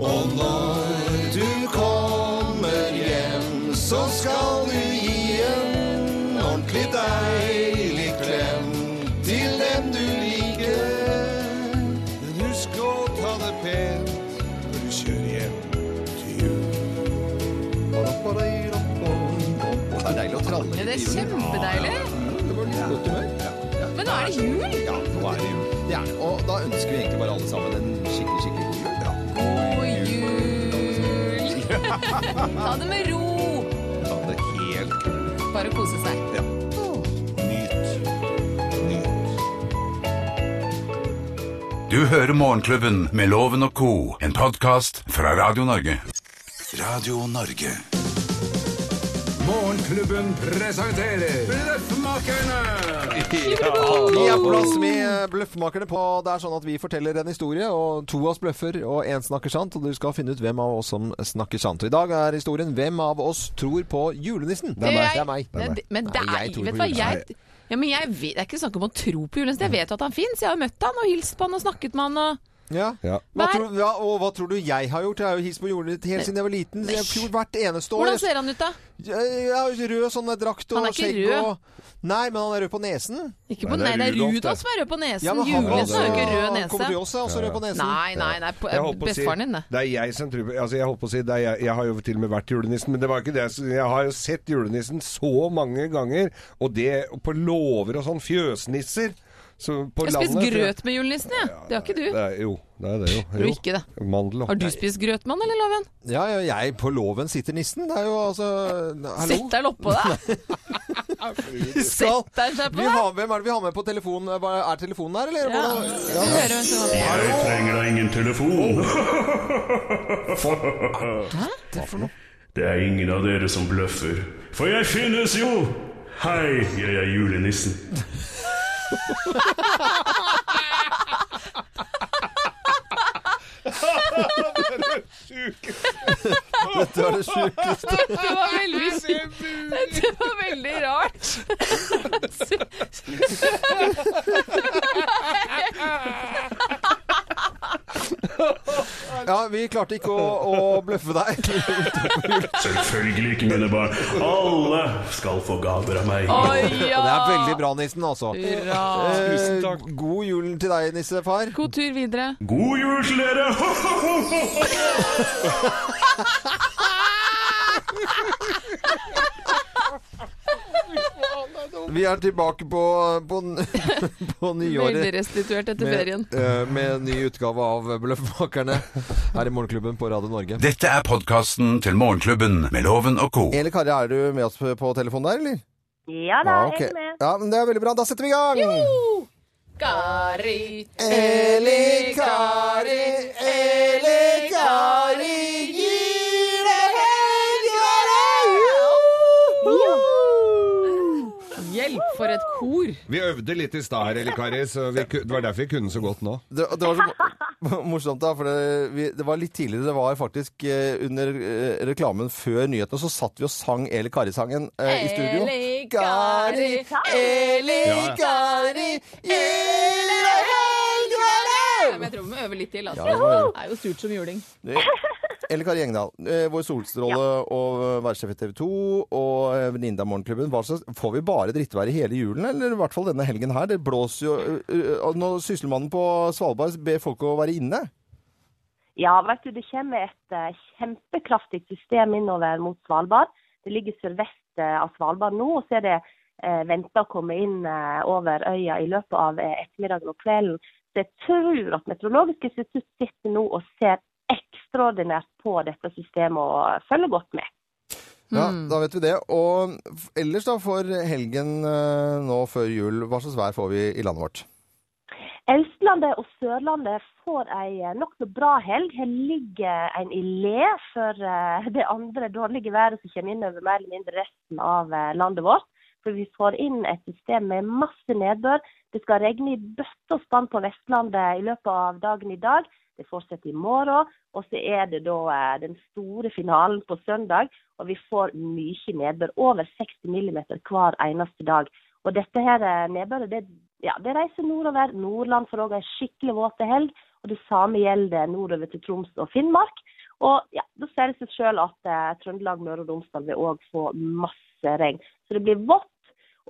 [SPEAKER 7] Og når du kommer hjem, så skal du gi en ordentlig deilig klem til den du liker.
[SPEAKER 5] Men husk å ta det pent når du kjører hjem til jul.
[SPEAKER 2] Det er deilig å tralle
[SPEAKER 6] Ja, det er
[SPEAKER 2] i julen.
[SPEAKER 6] kjempedeilig.
[SPEAKER 2] Det var litt godt humør.
[SPEAKER 6] Men nå er det jul.
[SPEAKER 2] Ja, nå er det jul. Det er det. Og da ønsker vi egentlig bare alle sammen en skikkelig, skikkelig god jul. Ja.
[SPEAKER 6] God jul. Ta det med ro.
[SPEAKER 5] Ta det helt kult.
[SPEAKER 6] Bare kose seg.
[SPEAKER 5] Nyt. Nyt.
[SPEAKER 4] Du hører Morgenklubben med Loven og Co., en podkast fra Radio Norge. Radio Norge.
[SPEAKER 5] Morgenklubben presenterer Bløffmakerne!
[SPEAKER 2] Vi har plass med eh, Bløffmakerne på. Det er sånn at vi forteller en historie, og to av oss bløffer, og én snakker sant. Og du skal finne ut hvem av oss som snakker sant. Og I dag er historien 'Hvem av oss tror på julenissen'? Det Det er meg.
[SPEAKER 1] Men det- Men det
[SPEAKER 2] Nei, jeg
[SPEAKER 1] er
[SPEAKER 2] tror på
[SPEAKER 1] Vet du hva,
[SPEAKER 2] julenissen.
[SPEAKER 1] jeg ja, men jeg vet, Det er ikke snakk om å tro på julenissen. Jeg vet jo at han fins. Jeg har møtt han og hilst på han og snakket med han. Og
[SPEAKER 2] Ja.
[SPEAKER 3] Ja.
[SPEAKER 2] Hva
[SPEAKER 1] Hver-
[SPEAKER 2] tror, ja, og hva tror du jeg har gjort? Jeg har jo hilst på jordet ditt helt siden jeg var liten. så Jeg har gjort hvert eneste år.
[SPEAKER 1] Hvordan ser han ut, da?
[SPEAKER 2] Jeg har rød sånn drakt og
[SPEAKER 1] Han er ikke
[SPEAKER 2] skjegg
[SPEAKER 1] rød.
[SPEAKER 2] og Nei, men han er rød på nesen.
[SPEAKER 1] Ikke på, nei,
[SPEAKER 5] Nei, det er
[SPEAKER 1] det er
[SPEAKER 5] Rudolf,
[SPEAKER 1] Rudolf som er rød på nesen.
[SPEAKER 2] Ja, men han er
[SPEAKER 1] Julenissen
[SPEAKER 2] også-
[SPEAKER 1] har jo ikke rød
[SPEAKER 2] han Kommer til
[SPEAKER 1] nese.
[SPEAKER 2] oss, er også rød på nesen.
[SPEAKER 1] Nei, nei, nei. på-
[SPEAKER 3] Jeg holdt på å si-
[SPEAKER 1] Bestefaren din, det.
[SPEAKER 3] Det er jeg som tror på altså jeg, holdt på å si, det er jeg, jeg har jo til og med vært julenissen, men det var ikke det. jeg s- Jeg har jo sett julenissen så mange ganger, og det og på låver og sånn. Fjøsnisser. Så på
[SPEAKER 1] Jeg har spist
[SPEAKER 3] landet-
[SPEAKER 1] grøt med julenissen, jeg. Det har ikke du.
[SPEAKER 3] Det er, jo, det er det jo.
[SPEAKER 1] Har du
[SPEAKER 3] jo.
[SPEAKER 1] ikke det?
[SPEAKER 3] Mandel og
[SPEAKER 1] Har du spist grøt med han, eller, Loven?
[SPEAKER 2] Ja, ja, jeg på låven sitter nissen. Det er jo altså Hallo?
[SPEAKER 1] Sett deg oppå deg!
[SPEAKER 2] Skal-
[SPEAKER 1] Sett deg seg på
[SPEAKER 2] Vi
[SPEAKER 1] deg!
[SPEAKER 2] har, hvem er det vi har med på telefonen? Er telefonen der, eller?
[SPEAKER 1] Ja.
[SPEAKER 2] Hvordan-
[SPEAKER 1] Vi hører hvem som har-
[SPEAKER 8] Jeg trenger da ingen telefon. Det er ingen av dere som bløffer. For jeg finnes jo! Hei, jeg er julenissen.
[SPEAKER 2] Dette var det sjuke.
[SPEAKER 1] Det var veldig, det var veldig rart.
[SPEAKER 2] Ja, vi klarte ikke å, å bløffe deg.
[SPEAKER 8] Selvfølgelig ikke, mine barn. Alle skal få gaver av meg.
[SPEAKER 1] Oi,
[SPEAKER 2] Og det er
[SPEAKER 1] ja!
[SPEAKER 2] veldig bra, nissen, altså.
[SPEAKER 1] Hurra.
[SPEAKER 2] Tusen takk. God jul til deg, nissefar.
[SPEAKER 1] God tur videre.
[SPEAKER 8] God jul til dere!
[SPEAKER 2] Vi er tilbake på, på, på
[SPEAKER 1] Veldig
[SPEAKER 2] nyåret.
[SPEAKER 1] restituert etter ferien.
[SPEAKER 2] Med, eh, med en ny utgave av Bløffmakerne her i Morgenklubben på Radio Norge.
[SPEAKER 4] Dette er podkasten til Morgenklubben med Loven og co.
[SPEAKER 2] Eller Kari, er du med oss på- på telefonen der, eller?
[SPEAKER 9] Ja da,
[SPEAKER 2] ok.
[SPEAKER 9] jeg er med.
[SPEAKER 2] Ja, men det er veldig bra. Da setter vi i gang!
[SPEAKER 1] Kari
[SPEAKER 2] Eli Kari, Eli Kari, gir deg
[SPEAKER 1] Hjelp for et kor!
[SPEAKER 3] Vi øvde litt i stad her, Eli Kari, så vi, ku- det var derfor vi kunne så godt nå.
[SPEAKER 2] Det, det var så mo- morsomt, da. For det, vi, det var litt tidligere. Det var faktisk eh, under eh, reklamen før nyhetene, så satt vi og sang Eli Kari-sangen eh, i studio.
[SPEAKER 1] Eli Kari,
[SPEAKER 2] Eli
[SPEAKER 3] Ja, ja.
[SPEAKER 2] Kari, Eli Kari
[SPEAKER 1] Men jeg tror vi må øve litt til, altså.
[SPEAKER 2] Ja, det må vi gjøre.
[SPEAKER 1] det er jo surt som juling.
[SPEAKER 2] Eller Kari Engdahl, eh, vår solstråle og eh, værsjef i TV 2 og eh, venninne av Morgenklubben. Hva slags, får vi bare drittvær i hele julen, eller i hvert fall denne helgen her? Det blåser jo eh, eh, og Når sysselmannen på Svalbard ber folk å være inne.
[SPEAKER 9] Ja, vet du, det kommer et eh, kjempekraftig system innover mot Svalbard. Det ligger sørvest eh, av Svalbard nå, og så er det eh, venta å komme inn eh, over øya i løpet av eh, ettermiddagen og kvelden. Så jeg tror at Meteorologisk institutt sitter nå og ser ekstraordinært på dette systemet og følger godt med.
[SPEAKER 2] Ja,
[SPEAKER 1] Hmm.
[SPEAKER 2] da vet vi det. Og f- ellers da, for helgen eh, nå før jul, hva slags vær får vi i landet vårt?
[SPEAKER 9] Østlandet og Sørlandet får ei eh, nokså bra helg. Her ligger en i le for eh, det andre dårlige været som kommer innover mer eller mindre resten av eh, landet vårt. For vi får inn et system med masse nedbør. Det skal regne i bøtte og spann på Vestlandet i løpet av dagen i dag. Det fortsetter i morgen. Og så er det da eh, den store finalen på søndag. Og vi får mye nedbør. Over 60 millimeter hver eneste dag. Og dette her eh, nedbøret, det, ja, det reiser nordover. Nordland får òg ei skikkelig våt helg. Og det samme gjelder nordover til Troms og Finnmark. Og ja, da ser det seg sjøl at eh, Trøndelag, Møre og Romsdal vil òg få masse regn. Så det blir vått.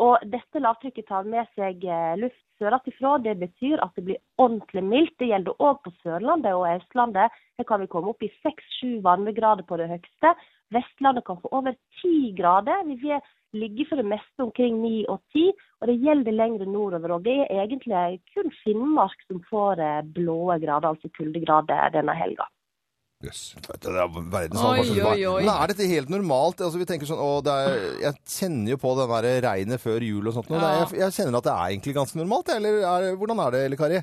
[SPEAKER 9] Og dette lavtrykket tar med seg eh, luft søratifra. Det betyr at det blir ordentlig mildt. Det gjelder òg på Sørlandet og Østlandet. Her kan vi komme opp i seks-sju varmegrader på det høyeste. Vestlandet kan få over ti grader. Vi vil ligge for det meste omkring ni og ti, og det gjelder lengre nordover. Og det er egentlig kun Finnmark som får eh, blåe grader, altså kuldegrader, denne helga.
[SPEAKER 3] Jøss.
[SPEAKER 2] Det er verdens
[SPEAKER 1] Oi, oi, oi.
[SPEAKER 2] Men er dette helt normalt? Altså, vi tenker sånn, å, det er, jeg kjenner jo på den der regnet før jul og sånt. nå.
[SPEAKER 1] Ja.
[SPEAKER 2] Det er- Jeg, jeg kjenner at det er egentlig ganske normalt, eller er, hvordan er det, eller Kari?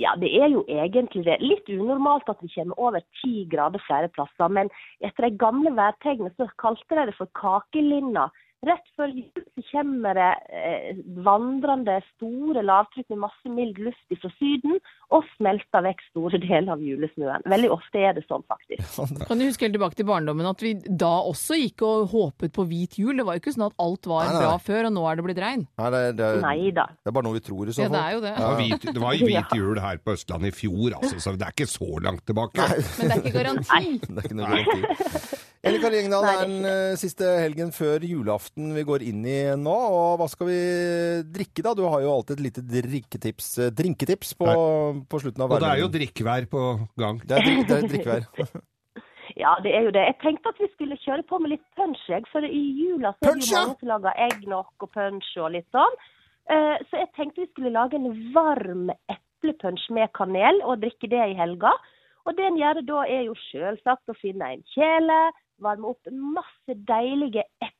[SPEAKER 9] Ja, det er jo egentlig det. Litt unormalt at vi kommer over ti grader flere plasser. Men etter de gamle værtegnene så kalte de det for kakelinna. Rett før jul så kommer det eh, vandrende store lavtrykk med masse mild luft fra Syden og smelter vekk store deler av julesnøen. Veldig ofte er det sånn, faktisk.
[SPEAKER 1] Kan du huske helt tilbake til barndommen at vi da også gikk og håpet på hvit jul? Det var jo ikke sånn at alt var
[SPEAKER 2] Nei, nei,
[SPEAKER 1] bra
[SPEAKER 2] nei.
[SPEAKER 1] før, og nå er det blitt regn.
[SPEAKER 2] Nei, det, det,
[SPEAKER 9] Nei da.
[SPEAKER 2] det er bare noe vi tror i så
[SPEAKER 1] Ja,
[SPEAKER 2] fall.
[SPEAKER 1] det er jo det.
[SPEAKER 3] Det var,
[SPEAKER 2] Ja.
[SPEAKER 3] hvit, det var jo hvit jul her på Østlandet i fjor, altså, så det er ikke så langt tilbake.
[SPEAKER 1] Men det er ikke garanti.
[SPEAKER 2] Det er ikke noe garanti. Ellie Kari Engdahl, det er den eh, siste helgen før julaften vi går inn i nå. Og hva skal vi drikke, da? Du har jo alltid et lite drikketips, eh, drinketips på, på slutten av
[SPEAKER 3] Og det er jo
[SPEAKER 2] hverdagen.
[SPEAKER 3] drikkvær på gang.
[SPEAKER 2] Det er, drikk- det er drikkevær.
[SPEAKER 9] Ja, det er jo det. Jeg tenkte at vi skulle kjøre på med litt punch, jeg. For i jula så er det
[SPEAKER 2] Punch,
[SPEAKER 9] jo
[SPEAKER 2] ja?
[SPEAKER 9] mange som lager eggnog og punch og litt sånn. Eh, Så jeg tenkte vi skulle lage en varm eplepunch med kanel og drikke det i helga. Og det en gjør da, er jo selvsagt å finne en kjele, varme opp masse deilige eplejus.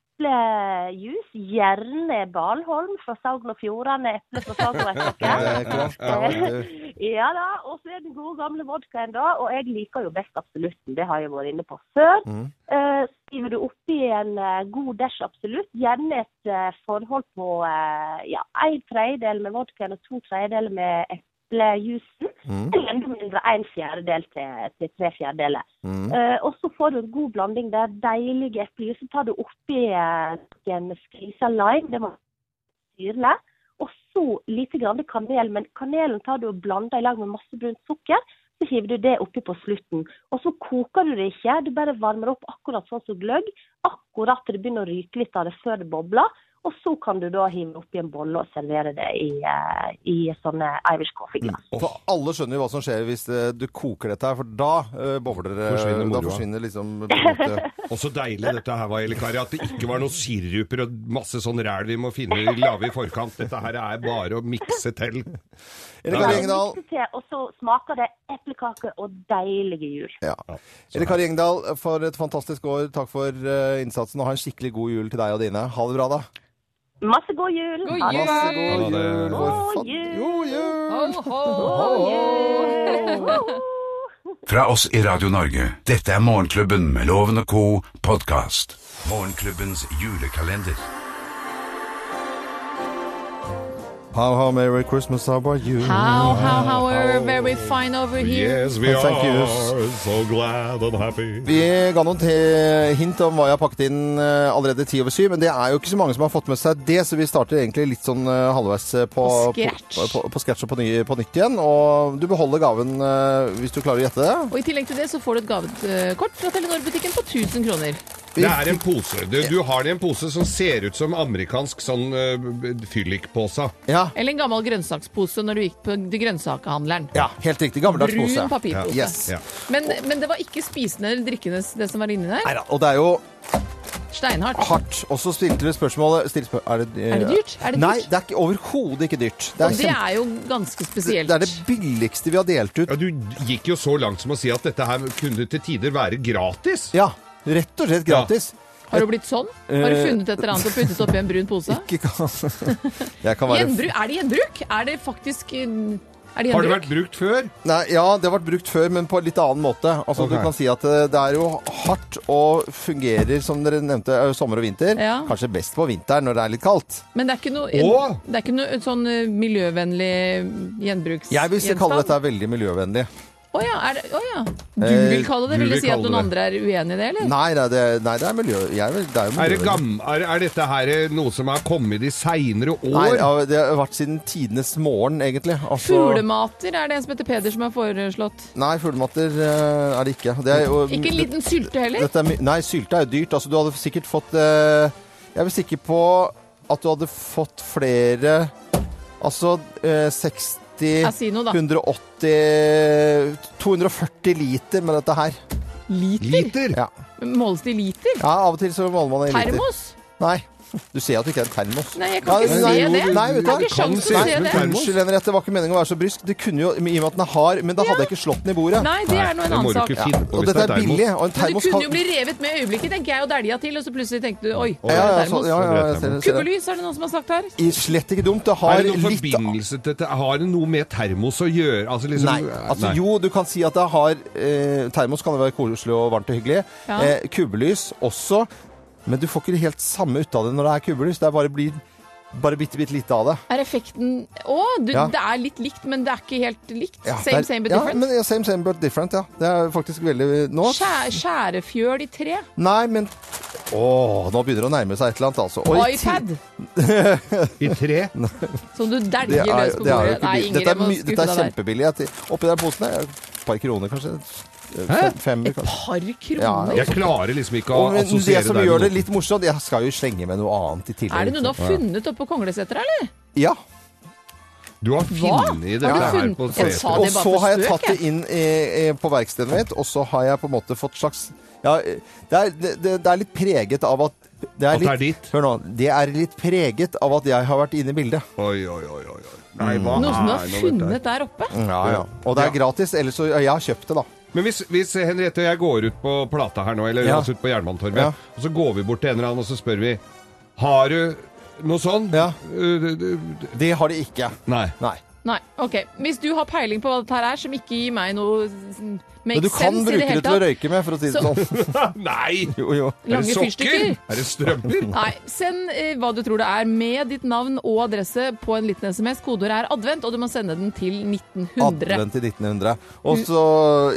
[SPEAKER 9] Gjerne Balholm fra Sogn og Fjordane, eple fra Sogn og
[SPEAKER 2] Det
[SPEAKER 9] Estokke.
[SPEAKER 2] er klart. det er alltid-
[SPEAKER 9] Eh, Ja da, og så er den gode gamle vodkaen da, og jeg liker jo best absolutten, det har jeg vært inne på før.
[SPEAKER 2] Mhm.
[SPEAKER 9] Eh, skriver du oppi en eh, god dash absolutt, gjerne et eh, forhold på eh, ja, en tredjedel med vodkaen og to tredjedeler med eplejusen,
[SPEAKER 2] Mhm.
[SPEAKER 9] eller enda mindre en fjerdedel til, til tre fjerdedeler.
[SPEAKER 2] Mhm.
[SPEAKER 9] Eh, og så får du en god blanding der, deilige eplejus, så tar du oppi eh, en skvisa lime, det må syrlig. Og så lite grann kanel, men kanelen tar du og blander i lag med masse brunt sukker. Så hiver du det oppi på slutten. Og så koker du det ikke, du bare varmer opp akkurat sånn som gløgg. Akkurat til det begynner å ryke litt av det før det bobler. Og så kan du da hive oppi en bolle og servere det i, eh, i sånne Irish coffee-glass.
[SPEAKER 2] For alle skjønner jo hva som skjer hvis eh, du koker dette her, for da eh, bobler det Da
[SPEAKER 3] Forsvinner moroa.
[SPEAKER 2] forsvinner liksom på en måte-
[SPEAKER 3] Og så deilig dette her var, Elikari, at det ikke var noen siruper og masse sånn ræl vi må finne lave i forkant. Dette her er bare å mikse til.
[SPEAKER 2] Ellie Kari
[SPEAKER 3] Ja.
[SPEAKER 2] Engdahl,
[SPEAKER 9] Mikse til, Og så smaker det eplekake og deilige jul.
[SPEAKER 2] ja. Ellie Kari Engdahl, for et fantastisk år. Takk for eh, innsatsen, og ha en skikkelig god jul til deg og dine. Ha det bra, da.
[SPEAKER 9] Masse god jul!
[SPEAKER 1] God
[SPEAKER 9] Ha det.
[SPEAKER 1] jul!
[SPEAKER 2] Masse god
[SPEAKER 3] Ha det.
[SPEAKER 2] jul. og
[SPEAKER 9] God
[SPEAKER 2] fa-
[SPEAKER 9] jul!
[SPEAKER 2] God jul!
[SPEAKER 1] Ho, ho.
[SPEAKER 4] Fra oss i Radio Norge. Dette er Morgenklubben med Loven og Co. podkast. Morgenklubbens julekalender.
[SPEAKER 2] How, how merry Christmas, how about you?
[SPEAKER 1] How, how, how are very fine over here.
[SPEAKER 3] Yes, we
[SPEAKER 2] Thank you.
[SPEAKER 3] are so glad and happy.
[SPEAKER 2] Vi ga noen te- hint om hva jeg har pakket inn eh, allerede ti over syv, men det er jo ikke så mange som har fått med seg det, så vi starter egentlig litt sånn eh, halvveis eh, på
[SPEAKER 1] På scratch.
[SPEAKER 2] På, på, på scratch og på, ny, på nytt igjen. Og du beholder gaven eh, hvis du klarer å gjette det.
[SPEAKER 1] Og i tillegg til det så får du et gavekort fra Telenor-butikken på 1000 kroner.
[SPEAKER 3] Det er en pose. Du, du har det i en pose som ser ut som amerikansk sånn uh, fyllikpose.
[SPEAKER 2] Ja,
[SPEAKER 1] Eller en gammel grønnsakspose når du gikk på grønnsakehandleren.
[SPEAKER 2] ja helt riktig. Gammeldags pose.
[SPEAKER 1] Brun papirpose.
[SPEAKER 2] Ja. Yes.
[SPEAKER 3] Ja.
[SPEAKER 1] Men, men det var ikke spisende eller drikkende det som var inni der.
[SPEAKER 2] Neida, Og det er jo
[SPEAKER 1] Steinhardt.
[SPEAKER 2] hardt. Og så stilte du spørsmålet still spør er, det, eh,
[SPEAKER 1] Er det dyrt? Er det dyrt?
[SPEAKER 2] Nei, det er ikke- overhodet ikke dyrt. Det
[SPEAKER 1] Og det
[SPEAKER 2] kjempe-
[SPEAKER 1] er jo ganske
[SPEAKER 2] det,
[SPEAKER 1] spesielt.
[SPEAKER 2] det er det billigste vi har delt ut.
[SPEAKER 3] Ja, du gikk jo så langt som å si at dette her kunne til tider være gratis.
[SPEAKER 2] Ja, rett og slett gratis.
[SPEAKER 1] Har du blitt sånn? Har du funnet et eller annet og puttet oppi en brun pose?
[SPEAKER 2] Eh, Ikke kan... Jeg kan være
[SPEAKER 1] Gjenbruk? Er det gjenbruk? Er det faktisk eh, Er det
[SPEAKER 3] Har det
[SPEAKER 1] gjenbruk?
[SPEAKER 3] vært brukt før?
[SPEAKER 2] Nei, ja, det har vært brukt før, men på en litt annen måte. Altså,
[SPEAKER 3] Ok.
[SPEAKER 2] Du kan si at eh, det er jo hardt og fungerer, som dere nevnte, eh, sommer og vinter.
[SPEAKER 1] Ja.
[SPEAKER 2] Kanskje best på vinteren når det er litt kaldt.
[SPEAKER 1] Men det er ikke noe,
[SPEAKER 3] Å!
[SPEAKER 1] det er ikke noe sånn eh, miljøvennlig gjenbruksgjenstand?
[SPEAKER 2] Jeg vil kalle dette veldig miljøvennlig.
[SPEAKER 1] Å ja, er det, å ja. Du
[SPEAKER 2] Eh,
[SPEAKER 1] vil kalle det?
[SPEAKER 3] du
[SPEAKER 1] Vil
[SPEAKER 3] vil
[SPEAKER 1] det si at
[SPEAKER 3] kalle
[SPEAKER 1] noen
[SPEAKER 3] det.
[SPEAKER 1] andre er uenig i det, eller?
[SPEAKER 2] Nei, nei, det, nei, det er miljø... Jeg vil, det er jo
[SPEAKER 3] Er, det
[SPEAKER 2] miljøvennlig.
[SPEAKER 3] gam, er, er dette her noe som har kommet de seinere år?
[SPEAKER 2] Nei, ja, det har vært siden tidenes morgen, egentlig. Altså,
[SPEAKER 1] Fuglemater er det en som heter Peder som har foreslått.
[SPEAKER 2] Nei, fuglematter eh, er det ikke. Det er jo,
[SPEAKER 1] Ikke en liten sylte heller?
[SPEAKER 2] Dette er, my- nei, sylte er jo dyrt. Altså, du hadde sikkert fått eh, Jeg er sikker på at du hadde fått flere Altså eh, 60
[SPEAKER 1] Ja, si noe, da.
[SPEAKER 2] 180 240 liter med dette her.
[SPEAKER 1] Liter?
[SPEAKER 3] Liter?
[SPEAKER 2] Ja.
[SPEAKER 1] Måles det i liter?
[SPEAKER 2] ja, av og til så måler man i liter.
[SPEAKER 1] Termos?
[SPEAKER 2] Nei. Du ser at du ikke er en termos.
[SPEAKER 1] Nei, jeg kan ikke
[SPEAKER 2] nei,
[SPEAKER 1] se
[SPEAKER 2] jo,
[SPEAKER 1] det.
[SPEAKER 2] du- Nei, vet
[SPEAKER 1] Jeg
[SPEAKER 2] du
[SPEAKER 1] har
[SPEAKER 2] hva?
[SPEAKER 1] ikke sjans til å
[SPEAKER 3] Kan
[SPEAKER 1] se
[SPEAKER 3] se,
[SPEAKER 1] det.
[SPEAKER 3] men-
[SPEAKER 2] Unnskyld, Henriette, det var ikke meningen å være så brysk. Det kunne jo, I og med at den er hard, men da hadde jeg ikke slått den i bordet.
[SPEAKER 1] Nei, det er
[SPEAKER 3] Nei,
[SPEAKER 1] nå en
[SPEAKER 3] det må
[SPEAKER 1] annen
[SPEAKER 3] du
[SPEAKER 1] sak.
[SPEAKER 3] ikke
[SPEAKER 2] Ja,
[SPEAKER 3] finne
[SPEAKER 2] og
[SPEAKER 3] på hvis
[SPEAKER 2] dette
[SPEAKER 3] det
[SPEAKER 2] er billig, og en
[SPEAKER 1] Men du
[SPEAKER 2] termos
[SPEAKER 1] kunne
[SPEAKER 2] kan
[SPEAKER 1] jo bli revet med i øyeblikket, tenker jeg, og dælja til, og så plutselig tenkte du
[SPEAKER 2] ja,
[SPEAKER 1] oi, det
[SPEAKER 2] ja, ja,
[SPEAKER 1] er
[SPEAKER 2] så,
[SPEAKER 1] termos.
[SPEAKER 2] ja, ja, jeg ser det, ser det.
[SPEAKER 1] Kubbelys er det noen som har sagt her.
[SPEAKER 2] I- Slett ikke dumt. Det
[SPEAKER 3] Er
[SPEAKER 2] har
[SPEAKER 3] det noen
[SPEAKER 2] litt
[SPEAKER 3] forbindelse til dette? Har det noe med termos å gjøre? Altså, liksom,
[SPEAKER 2] Nei. Altså,
[SPEAKER 3] Nei.
[SPEAKER 2] Jo, du kan si at det har eh, Termos kan det være koselig og varmt og hyggelig.
[SPEAKER 1] Ja.
[SPEAKER 2] Eh, kubbelys også. Men du får ikke helt samme ut av det når det er kubbelys. Det er bare, blir, bare bitte, bitte lite av det.
[SPEAKER 1] Er effekten Å, du,
[SPEAKER 2] Ja.
[SPEAKER 1] det er litt likt, men det er ikke helt likt.
[SPEAKER 2] Ja, det
[SPEAKER 1] same,
[SPEAKER 2] er-
[SPEAKER 1] same, but
[SPEAKER 2] ja,
[SPEAKER 1] different.
[SPEAKER 2] Men, ja, same, same, but different. Ja. Det er faktisk veldig Nå
[SPEAKER 1] Skjæ, skjærefjøl i tre.
[SPEAKER 2] Nei, men Åh, nå begynner det å nærme seg et eller annet, altså. Og i ti-
[SPEAKER 1] iPad,
[SPEAKER 3] I tre?
[SPEAKER 1] som du
[SPEAKER 2] Det
[SPEAKER 1] deljer
[SPEAKER 2] er,
[SPEAKER 1] løs på
[SPEAKER 2] det er jo
[SPEAKER 1] bordet.
[SPEAKER 2] ikke
[SPEAKER 1] Nei,
[SPEAKER 2] billig.
[SPEAKER 1] Ingrid,
[SPEAKER 2] Dette
[SPEAKER 1] jeg
[SPEAKER 2] er,
[SPEAKER 1] må
[SPEAKER 2] my- dette
[SPEAKER 1] skuffe
[SPEAKER 2] er
[SPEAKER 1] deg der.
[SPEAKER 2] kjempebillig. Jeg- Oppi den posen der, et par kroner kanskje. Fem, femmer, kanskje.
[SPEAKER 1] Par
[SPEAKER 2] Ja,
[SPEAKER 1] kroner?
[SPEAKER 2] ja.
[SPEAKER 3] Jeg klarer liksom ikke å
[SPEAKER 2] Og, men
[SPEAKER 3] assosiere
[SPEAKER 2] det som
[SPEAKER 3] deg
[SPEAKER 2] gjør det
[SPEAKER 3] med noe.
[SPEAKER 2] litt morsomt Jeg skal jo slenge med noe annet i tillegg.
[SPEAKER 1] Er det noe du har funnet oppe på Konglesetra, eller?
[SPEAKER 2] Ja.
[SPEAKER 3] Du har funnet i dette
[SPEAKER 1] Har du
[SPEAKER 3] her
[SPEAKER 1] funnet-
[SPEAKER 3] på
[SPEAKER 1] Jeg
[SPEAKER 3] setet.
[SPEAKER 1] sa det
[SPEAKER 2] Og
[SPEAKER 1] bare
[SPEAKER 2] så
[SPEAKER 1] for
[SPEAKER 2] har jeg
[SPEAKER 1] spøk,
[SPEAKER 2] tatt det
[SPEAKER 1] jeg.
[SPEAKER 2] inn eh, eh, på verkstedet mitt, og så har jeg på en måte fått slags ja, eh, det, er, det, det- det er litt preget av at det er
[SPEAKER 3] At det
[SPEAKER 2] litt,
[SPEAKER 3] er ditt?
[SPEAKER 2] Hør nå. Det er litt preget av at jeg har vært inne i bildet.
[SPEAKER 3] Oi, oi, oi, oi. oi. Nei, hva
[SPEAKER 1] Noe som du har
[SPEAKER 3] er nå dette her?
[SPEAKER 1] funnet der oppe?
[SPEAKER 2] Ja, ja. Og det er gratis. Ellers så Jeg har kjøpt det, da.
[SPEAKER 3] Men hvis, hvis Henriette og jeg går ut på plata her nå, eller
[SPEAKER 2] Ja.
[SPEAKER 3] altså ut på
[SPEAKER 2] Ja.
[SPEAKER 3] Jernbanetorget, og så går vi bort til en eller annen og så spør vi Har du noe sånn?
[SPEAKER 2] Ja.
[SPEAKER 3] Uh, du- du- du-
[SPEAKER 2] Det har de ikke.
[SPEAKER 3] Nei.
[SPEAKER 2] Nei.
[SPEAKER 1] Nei, ok. Hvis du har peiling på hva dette her er, som ikke gir meg noe mm,
[SPEAKER 2] Men
[SPEAKER 1] make
[SPEAKER 2] du kan
[SPEAKER 1] sense i
[SPEAKER 2] bruke
[SPEAKER 1] det
[SPEAKER 2] det
[SPEAKER 1] hele
[SPEAKER 2] til å
[SPEAKER 1] tatt
[SPEAKER 2] røyke med, for å si det
[SPEAKER 1] Så-
[SPEAKER 2] sånn.
[SPEAKER 3] Nei!
[SPEAKER 2] Jo, jo.
[SPEAKER 3] Er det
[SPEAKER 1] Lange
[SPEAKER 3] sokker?
[SPEAKER 1] fyrstikker?
[SPEAKER 3] Er det strømper?
[SPEAKER 1] Nei, send eh, hva du tror det er med ditt navn og adresse på en liten SMS. Kodeordet er advent, og du må sende den til 1900.
[SPEAKER 2] Advent i 1900. Og så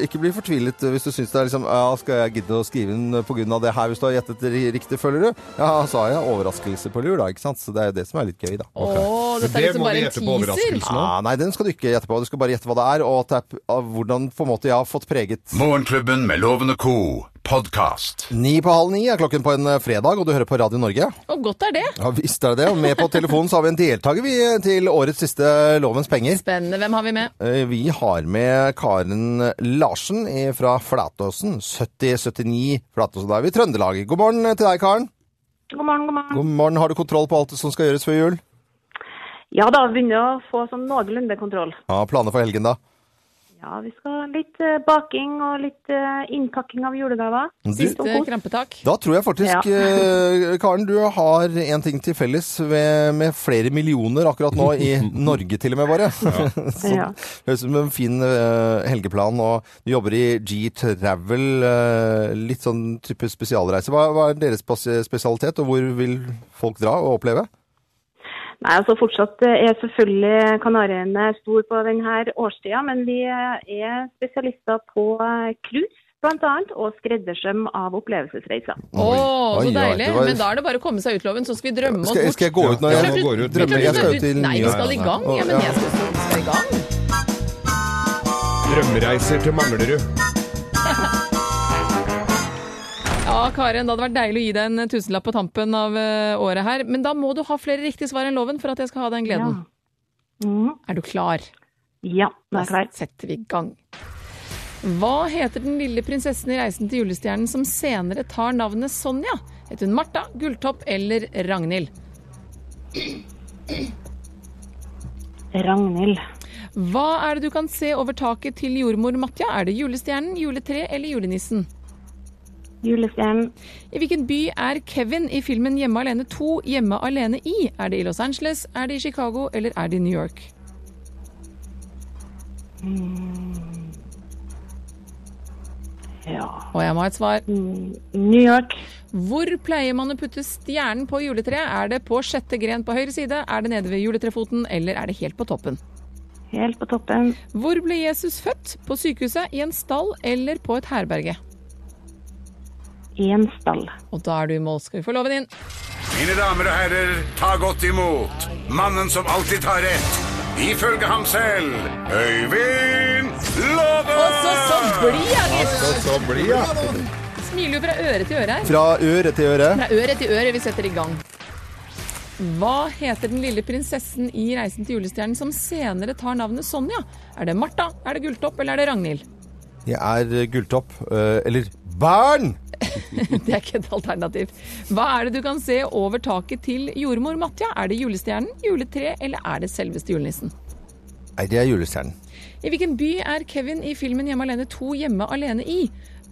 [SPEAKER 2] ikke bli fortvilet hvis du syns det er liksom ja, Skal jeg gidde å skrive den pga. det her hvis du har gjettet ri- riktig, følger du? Ja, så har jeg overraskelse på lur, da. Ikke sant? Så det er jo det som er litt gøy, da.
[SPEAKER 1] Å, dette er
[SPEAKER 3] Det
[SPEAKER 1] liksom
[SPEAKER 3] må vi
[SPEAKER 1] bare en
[SPEAKER 3] gjette på
[SPEAKER 1] teaser.
[SPEAKER 3] overraskelsen nå.
[SPEAKER 2] Ah, nei, den skal du ikke gjette på. Du skal bare gjette hva det er, og at det er, p- av hvordan på en måte jeg har fått preget
[SPEAKER 4] Morgenklubben med Loven og Co. Podcast.
[SPEAKER 2] Ni på halv ni er klokken på en eh, fredag, og du hører på Radio Norge.
[SPEAKER 1] Og godt er det.
[SPEAKER 2] Ja visst er det det. Og med på telefonen så har vi en deltaker vi til årets siste Lovens penger.
[SPEAKER 1] Spennende. Hvem har vi med?
[SPEAKER 2] Eh, Vi har med Karen Larsen i- fra Flatåsen. 7079 Flatåsen. Da er vi i Trøndelag. God morgen til deg, Karen.
[SPEAKER 9] God morgen, god morgen.
[SPEAKER 2] God morgen. Har du kontroll på alt som skal gjøres før jul?
[SPEAKER 9] Ja da, begynner å få sånn noenlunde kontroll.
[SPEAKER 2] Ja, Planer for helgen, da?
[SPEAKER 9] Ja, vi skal ha litt eh, baking og litt eh, innpakking av julegaver.
[SPEAKER 2] Du,
[SPEAKER 1] Siste krampetak.
[SPEAKER 2] da tror jeg faktisk,
[SPEAKER 9] Ja.
[SPEAKER 2] eh, Karen, du har en ting til felles ved, med flere millioner akkurat nå, i Norge til og med, bare. Så
[SPEAKER 9] Ja.
[SPEAKER 2] Høres ut som en fin eh, helgeplan. Og du jobber i G-Travel, eh, litt sånn type spesialreise. Hva, hva er deres spas- spesialitet, og hvor vil folk dra og oppleve?
[SPEAKER 9] Nei, altså fortsatt eh, er selvfølgelig Kanariøyene stor på denne årstida, men vi eh, er spesialister på eh, cruise bl.a. og skreddersøm av opplevelsesreiser.
[SPEAKER 1] Å,
[SPEAKER 2] Oi,
[SPEAKER 1] så
[SPEAKER 2] oi,
[SPEAKER 1] deilig.
[SPEAKER 2] det var-
[SPEAKER 1] Men da er det bare å komme seg ut, Loven, så skal vi drømme oss
[SPEAKER 2] Skal,
[SPEAKER 1] bort.
[SPEAKER 2] skal jeg gå ut nå?
[SPEAKER 3] Ja,
[SPEAKER 2] Jeg,
[SPEAKER 3] nå går du ut.
[SPEAKER 1] Vi kan
[SPEAKER 2] drømmer. Jeg
[SPEAKER 1] ikke
[SPEAKER 2] skal
[SPEAKER 1] dra
[SPEAKER 2] jo til
[SPEAKER 1] ut- Nei, vi skal i gang. Ja, men jeg skal, skal i gang.
[SPEAKER 3] Drømmereiser til Manglerud.
[SPEAKER 1] Ja, Karen, det hadde vært deilig å gi deg en tusenlapp på tampen av eh, året her. Men da må du ha flere riktige svar enn Loven for at jeg skal ha den gleden.
[SPEAKER 9] Mhm.
[SPEAKER 1] Er du klar?
[SPEAKER 9] Ja, nå er
[SPEAKER 1] Da
[SPEAKER 9] jeg klar.
[SPEAKER 1] setter vi i gang. Hva heter den lille prinsessen i Reisen til julestjernen som senere tar navnet Sonja? Heter hun Martha, Gulltopp eller Ragnhild?
[SPEAKER 9] Ragnhild.
[SPEAKER 1] Hva er det du kan se over taket til jordmor Matja? Er det julestjernen, juletreet eller julenissen?
[SPEAKER 9] Julestjernen.
[SPEAKER 1] I hvilken by er Kevin i filmen Hjemme alene 2 hjemme alene i? Er det i Los Angeles, er det i Chicago eller er det i New York?
[SPEAKER 9] Ja.
[SPEAKER 1] Og jeg må ha et svar.
[SPEAKER 9] New York.
[SPEAKER 1] Hvor pleier man å putte stjernen på juletreet? Er det på sjette gren på høyre side, er det nede ved juletrefoten eller er det helt på toppen?
[SPEAKER 9] Helt på toppen.
[SPEAKER 1] Hvor ble Jesus født? På sykehuset, i en stall eller på et herberge?
[SPEAKER 9] I en stall.
[SPEAKER 1] Og da er du i mål, skal vi få loven inn.
[SPEAKER 4] Mine damer og herrer, ta godt imot mannen som alltid tar rett. Ifølge ham selv Øyvind Låve!
[SPEAKER 1] Og så, så blir jeg litt
[SPEAKER 3] Så, så blir jeg.
[SPEAKER 1] Smiler jo fra øre til øre her.
[SPEAKER 2] Fra øre til øre.
[SPEAKER 1] Fra øre til øre, vi setter i gang. Hva heter den lille prinsessen i Reisen til julestjernen som senere tar navnet Sonja? Er det Martha, er det Gulltopp eller er det Ragnhild?
[SPEAKER 2] Jeg er eh, gulltopp. eh, Eller Bern!
[SPEAKER 1] Det er ikke et alternativ. Hva er det du kan se over taket til jordmor Matja? Er det julestjernen, juletreet eller er det selveste julenissen?
[SPEAKER 2] Nei, det er julestjernen.
[SPEAKER 1] I hvilken by er Kevin i filmen Hjemme alene 2 hjemme alene i?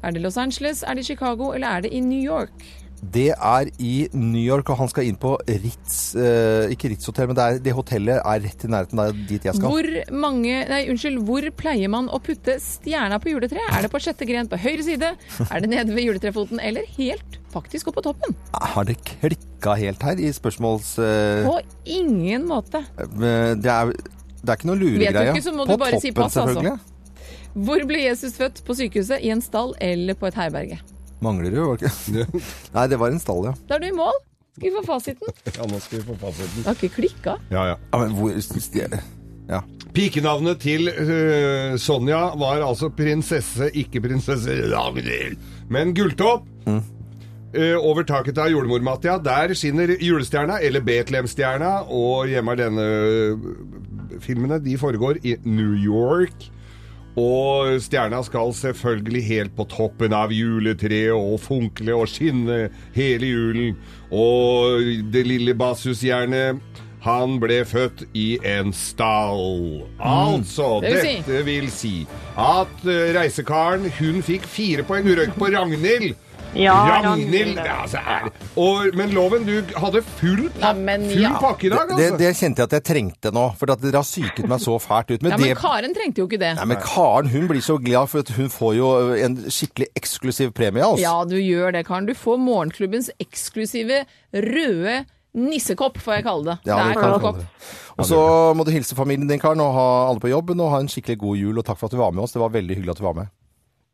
[SPEAKER 1] Er det Los Angeles, er det Chicago eller er det i New York?
[SPEAKER 2] Det er i New York, og han skal inn på Ritz eh, Ikke Ritz hotell, men det, er, det hotellet er rett i nærheten av dit jeg skal.
[SPEAKER 1] Hvor mange, nei, unnskyld, hvor pleier man å putte stjerna på juletreet? Er det på sjette gren på høyre side? Er det nede ved juletrefoten eller helt faktisk gå på toppen.
[SPEAKER 2] Har det klikka helt her i spørsmåls... eh,
[SPEAKER 1] På ingen måte.
[SPEAKER 2] eh, det, er, det er ikke noe
[SPEAKER 1] Vet du
[SPEAKER 2] luregreie.
[SPEAKER 1] ikke, så må
[SPEAKER 2] På
[SPEAKER 1] du bare si
[SPEAKER 2] toppen,
[SPEAKER 1] pass, altså.
[SPEAKER 2] selvfølgelig.
[SPEAKER 1] Hvor ble Jesus født? På sykehuset, i en stall eller på et herberge?
[SPEAKER 2] Mangler jo, var det ikke? Nei, det var en stall, ja.
[SPEAKER 1] Da er du i mål. Skal vi få fasiten? Det
[SPEAKER 3] Ja, nå skal vi få fasiten.
[SPEAKER 1] har ikke klikka.
[SPEAKER 3] Ja, ja.
[SPEAKER 2] ja men hvor, ja.
[SPEAKER 3] Pikenavnet til øh, Sonja var altså prinsesse, ikke prinsesse Ragnhild, men Gulltopp. Eh, over taket av jordmormatja, der skinner julestjerna, eller Betlehemstjerna, og hjemme er denne øh, filmene, de foregår i New York. Og stjerna skal selvfølgelig helt på toppen av juletreet og funkle og skinne hele julen. Og det lille basshusjernet, han ble født i en stall. Altså,
[SPEAKER 1] Mm. Det vil si-
[SPEAKER 3] dette vil si at eh, reisekaren, hun fikk fire poeng. Hun røyk på Ragnhild.
[SPEAKER 9] Ja,
[SPEAKER 3] Ragnhild
[SPEAKER 9] Ragnhild.
[SPEAKER 3] ja, så er det. og, Men Loven, du hadde full,
[SPEAKER 1] Ja, men
[SPEAKER 3] full
[SPEAKER 1] ja.
[SPEAKER 3] pakke i dag,
[SPEAKER 2] Det,
[SPEAKER 3] altså.
[SPEAKER 2] det kjente jeg at jeg trengte nå, for at dere har psyket meg så fælt ut. Men,
[SPEAKER 1] Ja, men
[SPEAKER 2] det,
[SPEAKER 1] Karen trengte jo ikke det.
[SPEAKER 2] nei, men Karen hun blir så glad, for at hun får jo en skikkelig eksklusiv premie altså. av oss.
[SPEAKER 1] Ja, du gjør det, Karen. Du får morgenklubbens eksklusive røde nissekopp, får jeg kalle det.
[SPEAKER 2] Ja, det
[SPEAKER 1] det
[SPEAKER 2] kan
[SPEAKER 1] er Karen
[SPEAKER 2] vi kalle
[SPEAKER 1] Kopp.
[SPEAKER 2] det. Og så må du hilse familien din, Karen, og ha alle på jobben, og ha en skikkelig god jul, og takk for at du var med oss. Det var veldig hyggelig at du var med.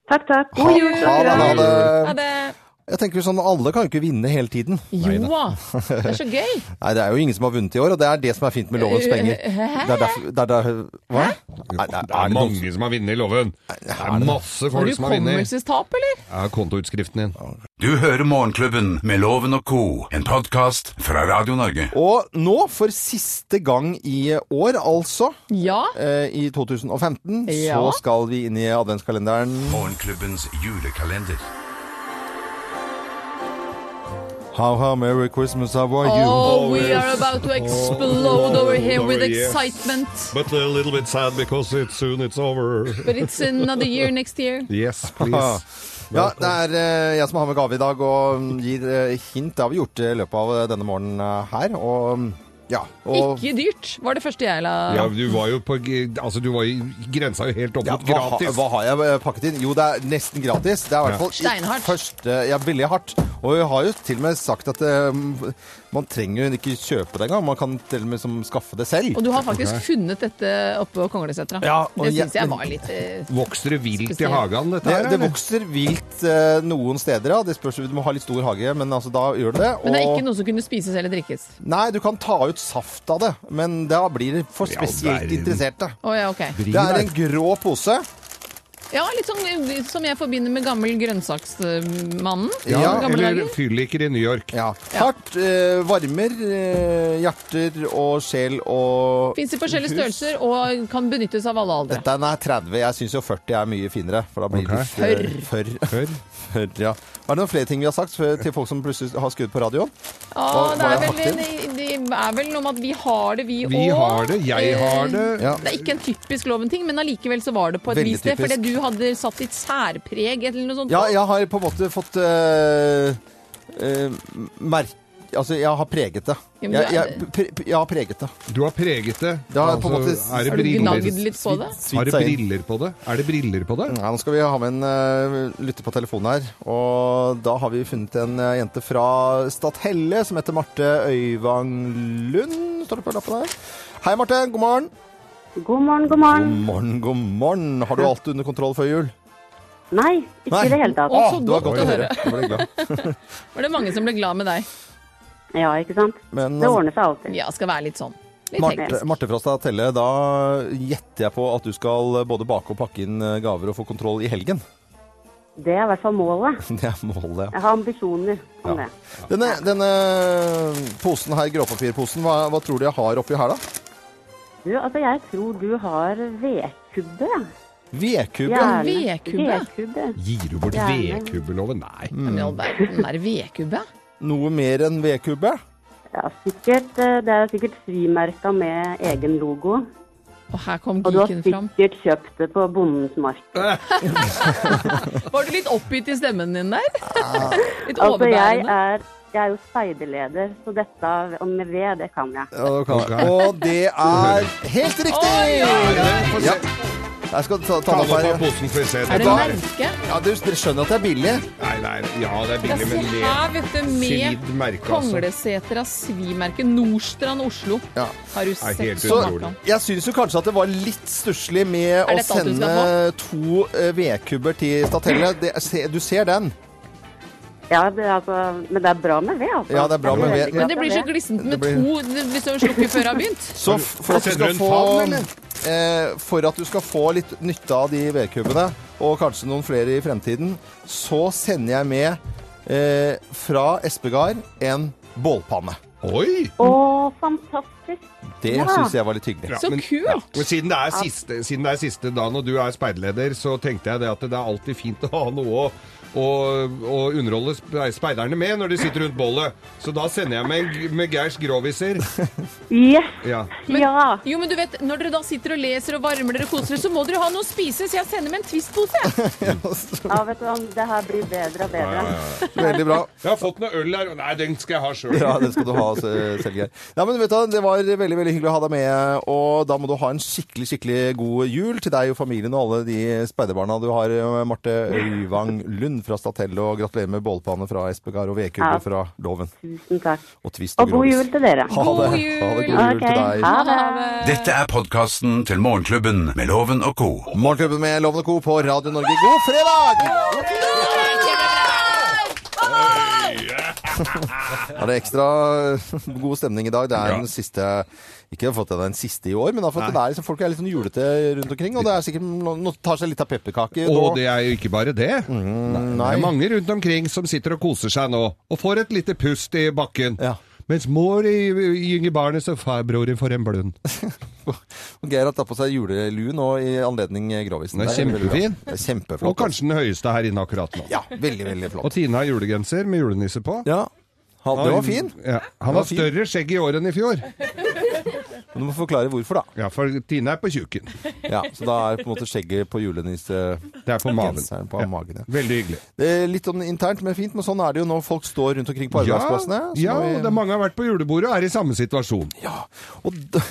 [SPEAKER 9] Takk, takk. God jul.
[SPEAKER 2] Ha det, ha det.
[SPEAKER 1] Ja, det...
[SPEAKER 2] Jeg tenker sånn, alle kan jo ikke vinne hele tiden.
[SPEAKER 1] Jo da! Det er så gøy.
[SPEAKER 2] Nei, det er jo ingen som har vunnet i år, og det er det som er fint med lovens penger. Det er derfor, det er der, hva? Nei,
[SPEAKER 3] Det
[SPEAKER 2] det
[SPEAKER 3] er
[SPEAKER 2] er noen-
[SPEAKER 3] mange som har vunnet i loven. Det er masse
[SPEAKER 1] Har
[SPEAKER 3] folk
[SPEAKER 1] du
[SPEAKER 3] som har vunnet.
[SPEAKER 1] hukommelsestap, eller?
[SPEAKER 3] Jeg har kontoutskriften din.
[SPEAKER 4] Du hører Morgenklubben med Loven og co., en podkast fra Radio Norge.
[SPEAKER 2] Og nå, for siste gang i år, altså,
[SPEAKER 1] Ja.
[SPEAKER 2] eh, i 2015,
[SPEAKER 1] Ja.
[SPEAKER 2] så skal vi inn i adventskalenderen.
[SPEAKER 4] Morgenklubbens julekalender.
[SPEAKER 2] How, how, merry Christmas, how are you?
[SPEAKER 1] Oh, we are about to explode over here with
[SPEAKER 3] Oh, yes.
[SPEAKER 1] excitement.
[SPEAKER 3] But a little bit sad because it's soon it's over.
[SPEAKER 1] But it's another year next year.
[SPEAKER 3] Yes,
[SPEAKER 2] Ah.
[SPEAKER 3] please.
[SPEAKER 2] Ja, det er eh, jeg som har med gave i dag og mm, gir eh, hint. Det har vi gjort i løpet av eh, denne morgenen eh, her. Og mm, ja og,
[SPEAKER 1] Ikke dyrt, var det første jeg la
[SPEAKER 3] Ja, du var jo på g- Altså, du var i grensa jo helt opp
[SPEAKER 2] ja,
[SPEAKER 3] mot
[SPEAKER 2] hva, ha-
[SPEAKER 3] gratis.
[SPEAKER 2] hva har jeg eh, pakket inn? Jo, det er nesten gratis. Det er i hvert fall ikke
[SPEAKER 1] Steinhardt.
[SPEAKER 2] første Ja, veldig hardt. Og jeg har jo til og med sagt at eh, man trenger jo ikke kjøpe det engang. Man kan til og med som, skaffe det selv.
[SPEAKER 1] Og du har faktisk funnet dette oppe på Konglesetra.
[SPEAKER 2] Ja, og
[SPEAKER 1] det
[SPEAKER 2] jeg-
[SPEAKER 1] syns jeg var litt eh,
[SPEAKER 3] Vokser det vilt i
[SPEAKER 1] Spesielt.
[SPEAKER 3] hagen, dette
[SPEAKER 2] Det,
[SPEAKER 3] her?
[SPEAKER 2] det
[SPEAKER 3] eller?
[SPEAKER 2] vokser vilt eh, noen steder, ja. Det spørs, du må ha litt stor hage, men altså, da gjør det det.
[SPEAKER 1] Men det er
[SPEAKER 2] og-
[SPEAKER 1] ikke noe som kunne spises eller drikkes.
[SPEAKER 2] Nei, du kan ta ut saft av det, men da blir det for
[SPEAKER 3] Ja,
[SPEAKER 2] spesielt
[SPEAKER 3] verden.
[SPEAKER 2] interesserte.
[SPEAKER 1] Å ja, ok.
[SPEAKER 2] Det er en grå pose.
[SPEAKER 1] Ja, litt sånn eh, som jeg forbinder med gammel grønnsaksmannen.
[SPEAKER 2] Ja,
[SPEAKER 1] Fra gamle
[SPEAKER 3] Eller
[SPEAKER 1] dager.
[SPEAKER 3] fylliker i New York.
[SPEAKER 2] Ja. Hardt eh, varmer eh, hjerter og sjel og
[SPEAKER 1] Fins i forskjellige størrelser og kan benyttes av alle aldre.
[SPEAKER 2] Dette er- nei, 30. Jeg syns jo 40 er mye finere, for da blir
[SPEAKER 3] Ok.
[SPEAKER 2] det litt eh, Før.
[SPEAKER 3] Hør.
[SPEAKER 2] Før, ja. Er det noen flere ting vi har sagt før- til folk som plutselig har skrudd på radioen?
[SPEAKER 1] Ah,
[SPEAKER 2] Hva-
[SPEAKER 1] det,
[SPEAKER 2] hva
[SPEAKER 1] er
[SPEAKER 2] har
[SPEAKER 1] vel,
[SPEAKER 2] jeg
[SPEAKER 1] det, det er vel noe med at vi har det, vi òg.
[SPEAKER 3] Vi har det, jeg har det.
[SPEAKER 2] Ja.
[SPEAKER 1] Det er ikke en typisk loven-ting, men allikevel så var det på et
[SPEAKER 2] Veldig
[SPEAKER 1] vis det. Fordi
[SPEAKER 2] typisk.
[SPEAKER 1] du hadde satt ditt særpreg eller noe sånt.
[SPEAKER 2] Ja, jeg har på en måte fått eh, eh, merk... Altså, jeg har preget det.
[SPEAKER 1] Ja,
[SPEAKER 2] Jeg,
[SPEAKER 1] men du er-
[SPEAKER 2] jeg, pre, jeg har preget det.
[SPEAKER 3] Du har preget det. Altså,
[SPEAKER 2] Det har på en måte-
[SPEAKER 3] er det
[SPEAKER 1] Har du
[SPEAKER 3] briller?
[SPEAKER 1] gnagd litt på det?
[SPEAKER 3] Har
[SPEAKER 2] Svidd
[SPEAKER 3] det
[SPEAKER 2] seg inn.
[SPEAKER 3] briller på det? Er det briller på det?
[SPEAKER 2] Ja, nå skal vi ha med en eh, lytter på telefonen her. Og da har vi funnet en eh, jente fra Stathelle som heter Marte Øyvang Lund. Står det på lappen her. Hei, Marte. God morgen.
[SPEAKER 9] God morgen, god morgen.
[SPEAKER 2] God morgen, god morgen. Har du alt under kontroll før jul?
[SPEAKER 9] Nei, ikke i det hele tatt.
[SPEAKER 1] Å,
[SPEAKER 2] Ah,
[SPEAKER 1] så
[SPEAKER 2] det var godt
[SPEAKER 1] godt å
[SPEAKER 2] å høre. Da ble jeg glad.
[SPEAKER 1] Var det mange som ble glad med deg?
[SPEAKER 9] Ja, ikke sant?
[SPEAKER 2] Men eh,
[SPEAKER 9] Det ordner seg alltid.
[SPEAKER 1] Ja, skal være litt sånn. Litt
[SPEAKER 2] Marte,
[SPEAKER 1] hektisk.
[SPEAKER 2] Marte fra Stathelle, da gjetter jeg på at du skal både bake og pakke inn eh, gaver og få kontroll i helgen.
[SPEAKER 9] Det er i hvert fall målet.
[SPEAKER 2] Det er målet. ja.
[SPEAKER 9] Jeg har ambisjoner om det.
[SPEAKER 2] Denne, denne posen her, gråpapirposen, hva, hva tror du jeg har oppi her, da?
[SPEAKER 9] Du, altså, jeg tror du har vedkubbe. ja.
[SPEAKER 2] Vedkubbe.
[SPEAKER 9] Gjerne.
[SPEAKER 1] Vedkubbe?
[SPEAKER 9] Vedkubbe.
[SPEAKER 3] Gir du bort
[SPEAKER 9] Gjerne.
[SPEAKER 3] vedkubbeloven? Nei.
[SPEAKER 2] mm.
[SPEAKER 9] Mm,
[SPEAKER 1] Men i all verden, er det vedkubbe?
[SPEAKER 2] Noe mer enn vedkubbe?
[SPEAKER 9] Ja, sikkert. eh, Det er sikkert frimerka med egen logo.
[SPEAKER 1] Og her kom
[SPEAKER 9] Og du har
[SPEAKER 1] geeken fram.
[SPEAKER 9] sikkert kjøpt det på bondens mark.
[SPEAKER 1] Var du litt oppgitt i stemmen din der?
[SPEAKER 2] Ah.
[SPEAKER 1] Litt
[SPEAKER 9] Altså, jeg
[SPEAKER 1] overbærende?
[SPEAKER 9] er, jeg er jo speiderleder, så dette med ved, det kan jeg.
[SPEAKER 2] Og det er helt riktig!
[SPEAKER 3] Få se.
[SPEAKER 2] Jeg skal ta, ta
[SPEAKER 3] Ta
[SPEAKER 2] med
[SPEAKER 3] det
[SPEAKER 2] meg
[SPEAKER 3] på posen, skal vi se.
[SPEAKER 1] Er det
[SPEAKER 3] Dette
[SPEAKER 1] merke?
[SPEAKER 2] Ja, du skjønner at det er billig?
[SPEAKER 3] Nei, nei, ja, det er
[SPEAKER 1] Ja,
[SPEAKER 3] billig,
[SPEAKER 1] se
[SPEAKER 3] men le.
[SPEAKER 1] her, vet du,
[SPEAKER 3] Svidd
[SPEAKER 1] med
[SPEAKER 3] merke,
[SPEAKER 1] Konglesetra svimerke. Nordstrand, Oslo.
[SPEAKER 2] Ja.
[SPEAKER 1] Har du
[SPEAKER 3] Er
[SPEAKER 1] sett
[SPEAKER 3] helt
[SPEAKER 2] Så
[SPEAKER 3] utrolig.
[SPEAKER 1] maken?
[SPEAKER 2] jeg syns jo kanskje at det var litt stusslig med
[SPEAKER 1] Er
[SPEAKER 2] å
[SPEAKER 1] dette alt du skal
[SPEAKER 2] sende to eh, vedkubber til Statelle. Det, se- du ser den.
[SPEAKER 10] Ja, det er altså, men det er bra med ved, altså.
[SPEAKER 2] Ja, det er bra med ved.
[SPEAKER 1] Men det blir så glissent med
[SPEAKER 2] Det blir-
[SPEAKER 1] to det blir som å slukke før det har begynt.
[SPEAKER 2] Så f- for at, du
[SPEAKER 3] Sender
[SPEAKER 2] skal
[SPEAKER 3] du
[SPEAKER 2] få,
[SPEAKER 3] en favn, eller?
[SPEAKER 2] eh, for at du skal få litt nytte av de vedkubbene, og kanskje noen flere i fremtiden, så sender jeg med eh, fra Espegard en bålpanne.
[SPEAKER 3] Oi!
[SPEAKER 10] Å, fantastisk.
[SPEAKER 2] Det
[SPEAKER 10] Ja.
[SPEAKER 2] syns jeg var litt hyggelig.
[SPEAKER 3] Ja,
[SPEAKER 1] Så
[SPEAKER 3] men-
[SPEAKER 1] kult!
[SPEAKER 3] ja. Men siden det, er siste, siden det er siste dagen og du er speiderleder, så tenkte jeg det at det er alltid fint å ha noe å, å, å underholde spe- speiderne med når de sitter rundt bålet. Så da sender jeg med, en- med Geirs groviser.
[SPEAKER 10] Yes.
[SPEAKER 3] Ja.
[SPEAKER 10] ja.
[SPEAKER 1] Jo, men du vet, Når dere da sitter og leser og varmer dere og koser dere, så må dere ha noe å spise, så jeg sender med en Twist-pose. jeg.
[SPEAKER 10] ja, vet du hva, det her blir bedre og bedre.
[SPEAKER 2] Veldig bra.
[SPEAKER 3] Jeg har fått noe øl her. Nei, den skal jeg ha sjøl.
[SPEAKER 2] Ja, det skal du ha, Se- Selgeir. Ja, men vet du, hva, det var veldig veldig hyggelig å ha deg med. Og da må du ha en skikkelig skikkelig god jul til deg og familien og alle de speiderbarna du har. eh, Marte Øyvang Lund fra Statello, og gratulerer med bålpanne fra Espegard og vedkubbe
[SPEAKER 10] Ja.
[SPEAKER 2] fra Loven.
[SPEAKER 10] Tusen takk.
[SPEAKER 2] Og Twist
[SPEAKER 10] Og
[SPEAKER 2] og
[SPEAKER 10] god
[SPEAKER 2] Grovis.
[SPEAKER 10] jul til dere.
[SPEAKER 2] Ha det.
[SPEAKER 1] God jul.
[SPEAKER 2] Ha det god jul
[SPEAKER 10] Ok,
[SPEAKER 2] til deg.
[SPEAKER 10] ha det.
[SPEAKER 4] Dette er podkasten til Morgenklubben med Loven og co.
[SPEAKER 2] Morgenklubben med Loven og Co. på Radio Norge. God fredag! Ja, det er ekstra eh, god stemning i dag. Det er den siste Ikke fått den siste i år, men har fått den der, liksom, folk er litt sånn julete rundt omkring. Og det er sikkert noen noen tar seg litt av pepperkaker.
[SPEAKER 3] Og
[SPEAKER 2] nå.
[SPEAKER 3] det er jo ikke bare det.
[SPEAKER 9] Mm.
[SPEAKER 3] Det er mange rundt omkring som sitter og koser seg nå, og får et lite pust i bakken.
[SPEAKER 2] Ja.
[SPEAKER 3] Mens mor i- gynger barnet, så farbroren får en blund.
[SPEAKER 2] Og Geir har tatt på seg julelue nå i anledning grovisen.
[SPEAKER 3] Den er
[SPEAKER 2] Det veldig bra.
[SPEAKER 3] kjempefin.
[SPEAKER 2] Det er
[SPEAKER 3] Og
[SPEAKER 2] kjempeflott. altså.
[SPEAKER 3] kanskje den høyeste her inne akkurat nå.
[SPEAKER 2] Ja, veldig, veldig
[SPEAKER 3] Og
[SPEAKER 2] flott.
[SPEAKER 3] Tine har julegenser med julenisse på.
[SPEAKER 2] Ja, han, det var fin.
[SPEAKER 3] Ja, han
[SPEAKER 2] var
[SPEAKER 3] har større skjegg i år enn i fjor.
[SPEAKER 2] Men du må forklare hvorfor, da.
[SPEAKER 3] Ja, for Tine er på tjukken.
[SPEAKER 2] Ja, så da er på en måte skjegget på julenisse...
[SPEAKER 3] Det er på maven.
[SPEAKER 2] Genseren på magen, ja.
[SPEAKER 3] Veldig hyggelig.
[SPEAKER 2] Det er litt om det internt, men fint. Men sånn er det jo når folk står rundt omkring på
[SPEAKER 3] Ja,
[SPEAKER 2] arbeidsplassene. så
[SPEAKER 3] ja
[SPEAKER 2] må vi-
[SPEAKER 3] og det er mange som har vært på julebordet og er i samme situasjon.
[SPEAKER 2] Ja, og d-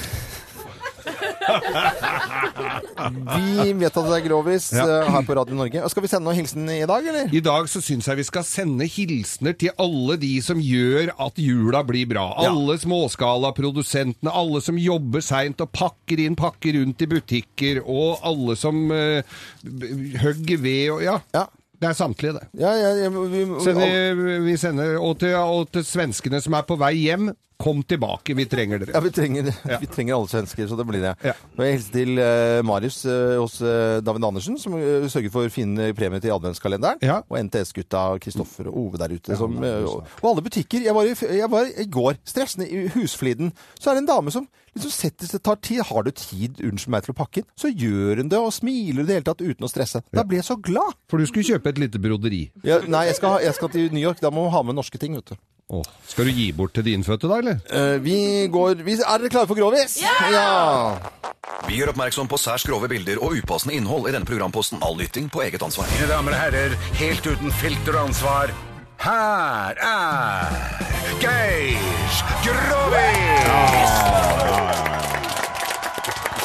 [SPEAKER 2] Vi vet at det er grovis
[SPEAKER 3] Ja.
[SPEAKER 2] eh, her på Radio Norge. Og Skal vi sende noen hilsen i dag, eller?
[SPEAKER 3] I dag så syns jeg vi skal sende hilsener til alle de som gjør at jula blir bra.
[SPEAKER 2] Ja.
[SPEAKER 3] Alle småskalaprodusentene, alle som jobber seint og pakker inn pakker rundt i butikker, og alle som eh, b- hogger ved og Ja.
[SPEAKER 2] Ja.
[SPEAKER 3] Det er samtlige, det.
[SPEAKER 2] Ja, ja, ja, vi, vi,
[SPEAKER 3] Sender, vi sender, og, til, og til svenskene som er på vei hjem, kom tilbake, vi trenger
[SPEAKER 2] ja,
[SPEAKER 3] dere.
[SPEAKER 2] vi, trenger, vi trenger alle svensker, så det blir det.
[SPEAKER 3] Ja.
[SPEAKER 2] Og jeg hilser til eh, Marius eh, hos eh, David Andersen, som eh, sørger for fine premier til adventskalenderen.
[SPEAKER 3] Ja.
[SPEAKER 2] Og NTS-gutta Kristoffer og Ove der ute. som, eh, og, og alle butikker. Jeg var, i, f- jeg var i går stressende i Husfliden. Så er det en dame som liksom setter seg tar tid. Har du tid, unnskyld meg, til å pakke inn? Så gjør hun det, og smiler i det hele tatt uten å stresse. Da ble jeg så glad!
[SPEAKER 3] For du skulle kjøpe et lite broderi.
[SPEAKER 2] Ja, nei, jeg skal, ha- jeg skal til New York. Da må hun ha med norske ting, vet du.
[SPEAKER 3] Åh, skal du gi bort til de innfødte da, eller?
[SPEAKER 2] Eh, vi går vi, Er dere klare for Grovis? Ja!
[SPEAKER 11] Vi gjør oppmerksom på særs grove bilder og upassende innhold i denne programposten. All lytting på eget ansvar.
[SPEAKER 4] Mine damer og herrer, helt uten filter og ansvar, her er Geir Grovis!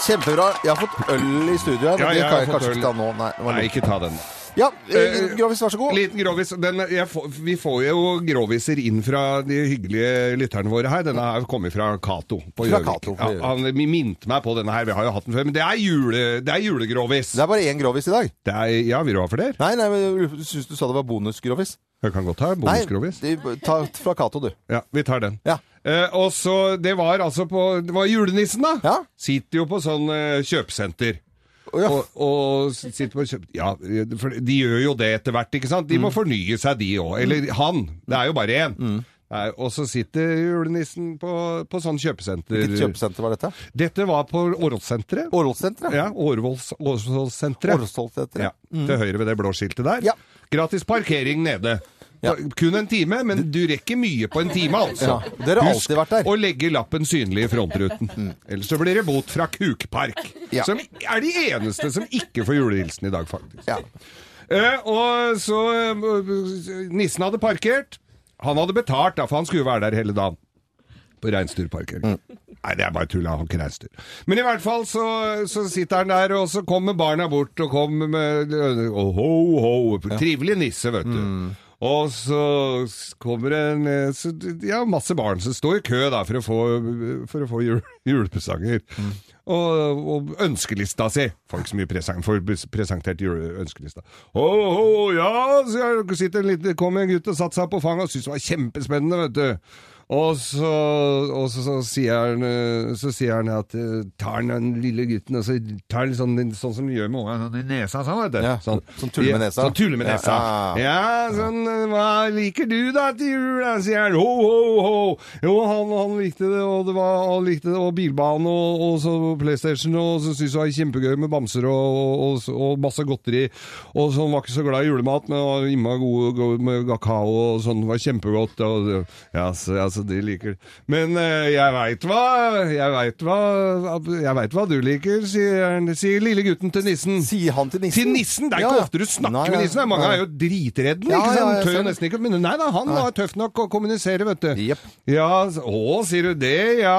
[SPEAKER 2] Kjempebra. Jeg har fått øl i studio her. men
[SPEAKER 3] Ja,
[SPEAKER 2] det
[SPEAKER 3] jeg
[SPEAKER 2] kan
[SPEAKER 3] har
[SPEAKER 2] jeg
[SPEAKER 3] fått
[SPEAKER 2] kanskje
[SPEAKER 3] øl.
[SPEAKER 2] ikke ta nå. Nei, det var
[SPEAKER 3] Nei,
[SPEAKER 2] lurt.
[SPEAKER 3] ikke ta den.
[SPEAKER 2] Ja, eh,
[SPEAKER 3] Eh,
[SPEAKER 2] Grovis, vær så god.
[SPEAKER 3] Liten grovis. Den, jeg får, vi får jo groviser inn fra de hyggelige lytterne våre her. Denne her kommer fra Cato
[SPEAKER 2] Fra
[SPEAKER 3] på Gjøvik.
[SPEAKER 2] Cato på Gjøvik.
[SPEAKER 3] Ja, han minte meg på denne her, vi har jo hatt den før. Men det er, jule, det er julegrovis.
[SPEAKER 2] Det er bare én Grovis i dag.
[SPEAKER 3] Det er, ja, vil du ha flere?
[SPEAKER 2] Nei, nei, men syns du sa det var bonus-Grovis?
[SPEAKER 3] Jeg kan godt ha en
[SPEAKER 2] Nei,
[SPEAKER 3] bonusgrovis.
[SPEAKER 2] de- ta fra Cato, du.
[SPEAKER 3] Ja, vi tar den.
[SPEAKER 2] Ja.
[SPEAKER 3] Eh, og så, Det var altså på Det var julenissen, da.
[SPEAKER 2] Ja.
[SPEAKER 3] Sitter jo på sånn eh, kjøpesenter.
[SPEAKER 2] Å, ja.
[SPEAKER 3] Og, og sitter på kjøp... Ja, for de gjør jo det etter hvert, ikke sant? De må
[SPEAKER 2] Mm.
[SPEAKER 3] fornye seg, de òg. Eller han. Det er jo bare én. Nei, Og så sitter julenissen på, på sånn kjøpesenter.
[SPEAKER 2] Hvilket kjøpesenter var dette?
[SPEAKER 3] Dette var på Årvollsenteret.
[SPEAKER 2] Årvollsenteret?
[SPEAKER 3] Ja, Årvolls- Årvollsenteret.
[SPEAKER 2] Årvollsenteret.
[SPEAKER 3] Ja, Til høyre ved det blå skiltet der.
[SPEAKER 2] Mm. Ja.
[SPEAKER 3] Gratis parkering nede.
[SPEAKER 2] Ja.
[SPEAKER 3] Kun en time, men du rekker mye på en time, altså.
[SPEAKER 2] Ja, dere har alltid vært der. Mm.
[SPEAKER 3] å legge lappen synlig i frontruten. Ellers så blir det bot fra Kukpark,
[SPEAKER 2] Ja.
[SPEAKER 3] som er de eneste som ikke får julehilsen i dag, faktisk.
[SPEAKER 2] Ja.
[SPEAKER 3] Eh, og så eh, Nissen hadde parkert. Han hadde betalt, da, for han skulle jo være der hele dagen. På reinsdyrparkering. Nei, det er bare tull. Han har ikke reist ut. Men i hvert fall så, så sitter han der, og så kommer barna bort og kommer med og ho, ho. Trivelig nisse, vet du. Og så s- kommer det en eh, så, Ja, masse barn som står i kø da for å få, for å få jul, julepresanger. Og, og ønskelista si. Folk som får presentert jule- ønskelista. Å, å, ja, sier jeg. Sitter en liten, kom en gutt og satte seg på fanget og syntes det var kjempespennende, vet du. Og så, og så, så, sier han, eh, så sier han at eh, tar han den lille gutten og så tar han sånn, sånn som de gjør med ungene, sånn i nesa sånn, vet du. sånn,
[SPEAKER 2] sånn tulle med nesa.
[SPEAKER 3] Sånn tulle med
[SPEAKER 2] Ja,
[SPEAKER 3] nesa.
[SPEAKER 2] ja, ja.
[SPEAKER 3] Ja, sånn eh, Hva liker du da til jul? da?" sier han. Ho, ho, ho. Jo, han, han likte det, og det var, han likte det, og bilbane og, og så PlayStation, og så syntes han det var kjempegøy med bamser og, og, og, og masse godteri. Og så han var ikke så glad i julemat, men han var innmari god god med kakao og sånn. Det var kjempegodt. Og, det- ja, så, ja, så de liker det. Men eh, jeg veit hva Jeg veit hva, jeg vet hva du liker, sier, han- sier lille gutten til nissen.
[SPEAKER 2] Sier han til nissen?
[SPEAKER 3] Til nissen! Det er
[SPEAKER 2] Ja,
[SPEAKER 3] ikke
[SPEAKER 2] ja.
[SPEAKER 3] ofte du snakker
[SPEAKER 2] Nei,
[SPEAKER 3] med
[SPEAKER 2] nei,
[SPEAKER 3] nissen. Mange
[SPEAKER 2] nei.
[SPEAKER 3] er jo dritredde
[SPEAKER 2] Ja,
[SPEAKER 3] ikke
[SPEAKER 2] ja, sånn.
[SPEAKER 3] sant?
[SPEAKER 2] jeg
[SPEAKER 3] Tør
[SPEAKER 2] ser
[SPEAKER 3] jo
[SPEAKER 2] det.
[SPEAKER 3] nesten ikke Men nei da, han var tøff nok å kommunisere, vet du. Ja, s- å, sier du det? Ja,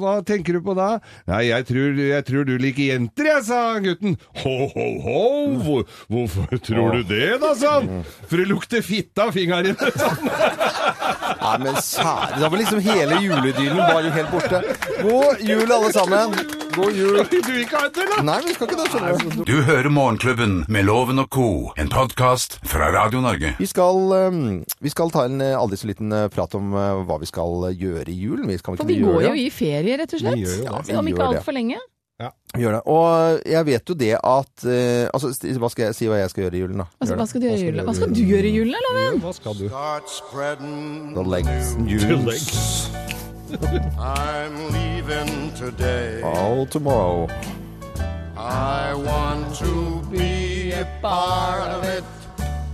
[SPEAKER 3] hva tenker du på da? Nei, jeg tror, jeg tror du liker jenter, jeg, sa gutten. Ho, ho, ho, hvor, hvorfor tror du det da, sa han? For det lukter fitte av fingeren dine, sa han.
[SPEAKER 2] Nei, men sære Da var liksom hele juledylen bare helt borte. God jul, alle sammen. God jul.
[SPEAKER 3] Du vil ikke ha det, da?
[SPEAKER 2] Nei, vi skal ikke det, skjønner du.
[SPEAKER 4] Du hører Morgenklubben med Loven og Co., en podkast fra Radio Norge.
[SPEAKER 2] Vi skal, eh, vi skal ta en eh, aldri så liten eh, prat om eh, hva vi skal eh, gjøre i julen. Vi skal
[SPEAKER 1] For
[SPEAKER 2] ikke
[SPEAKER 1] vi
[SPEAKER 2] gjøre
[SPEAKER 1] går
[SPEAKER 2] det?
[SPEAKER 1] jo i ferie, rett
[SPEAKER 2] Vi
[SPEAKER 1] og slett.
[SPEAKER 2] gjør jo det.
[SPEAKER 1] Altså,
[SPEAKER 2] Vi
[SPEAKER 1] Om ikke
[SPEAKER 2] gjør det.
[SPEAKER 1] altfor lenge.
[SPEAKER 2] Gjør det. Og jeg vet jo det at eh, Altså, sti- hva skal jeg si hva jeg skal gjøre i julen, da?
[SPEAKER 1] Altså,
[SPEAKER 2] Gjør
[SPEAKER 1] hva
[SPEAKER 2] det.
[SPEAKER 1] skal du gjøre i julen? Hva skal du gjøre i julen, da, Loven?
[SPEAKER 3] Hva skal du?
[SPEAKER 7] Start spreading
[SPEAKER 2] The legs and
[SPEAKER 7] the
[SPEAKER 2] jules.
[SPEAKER 7] legs. I'm leaving today.
[SPEAKER 2] All tomorrow.
[SPEAKER 7] I want to be a part of it.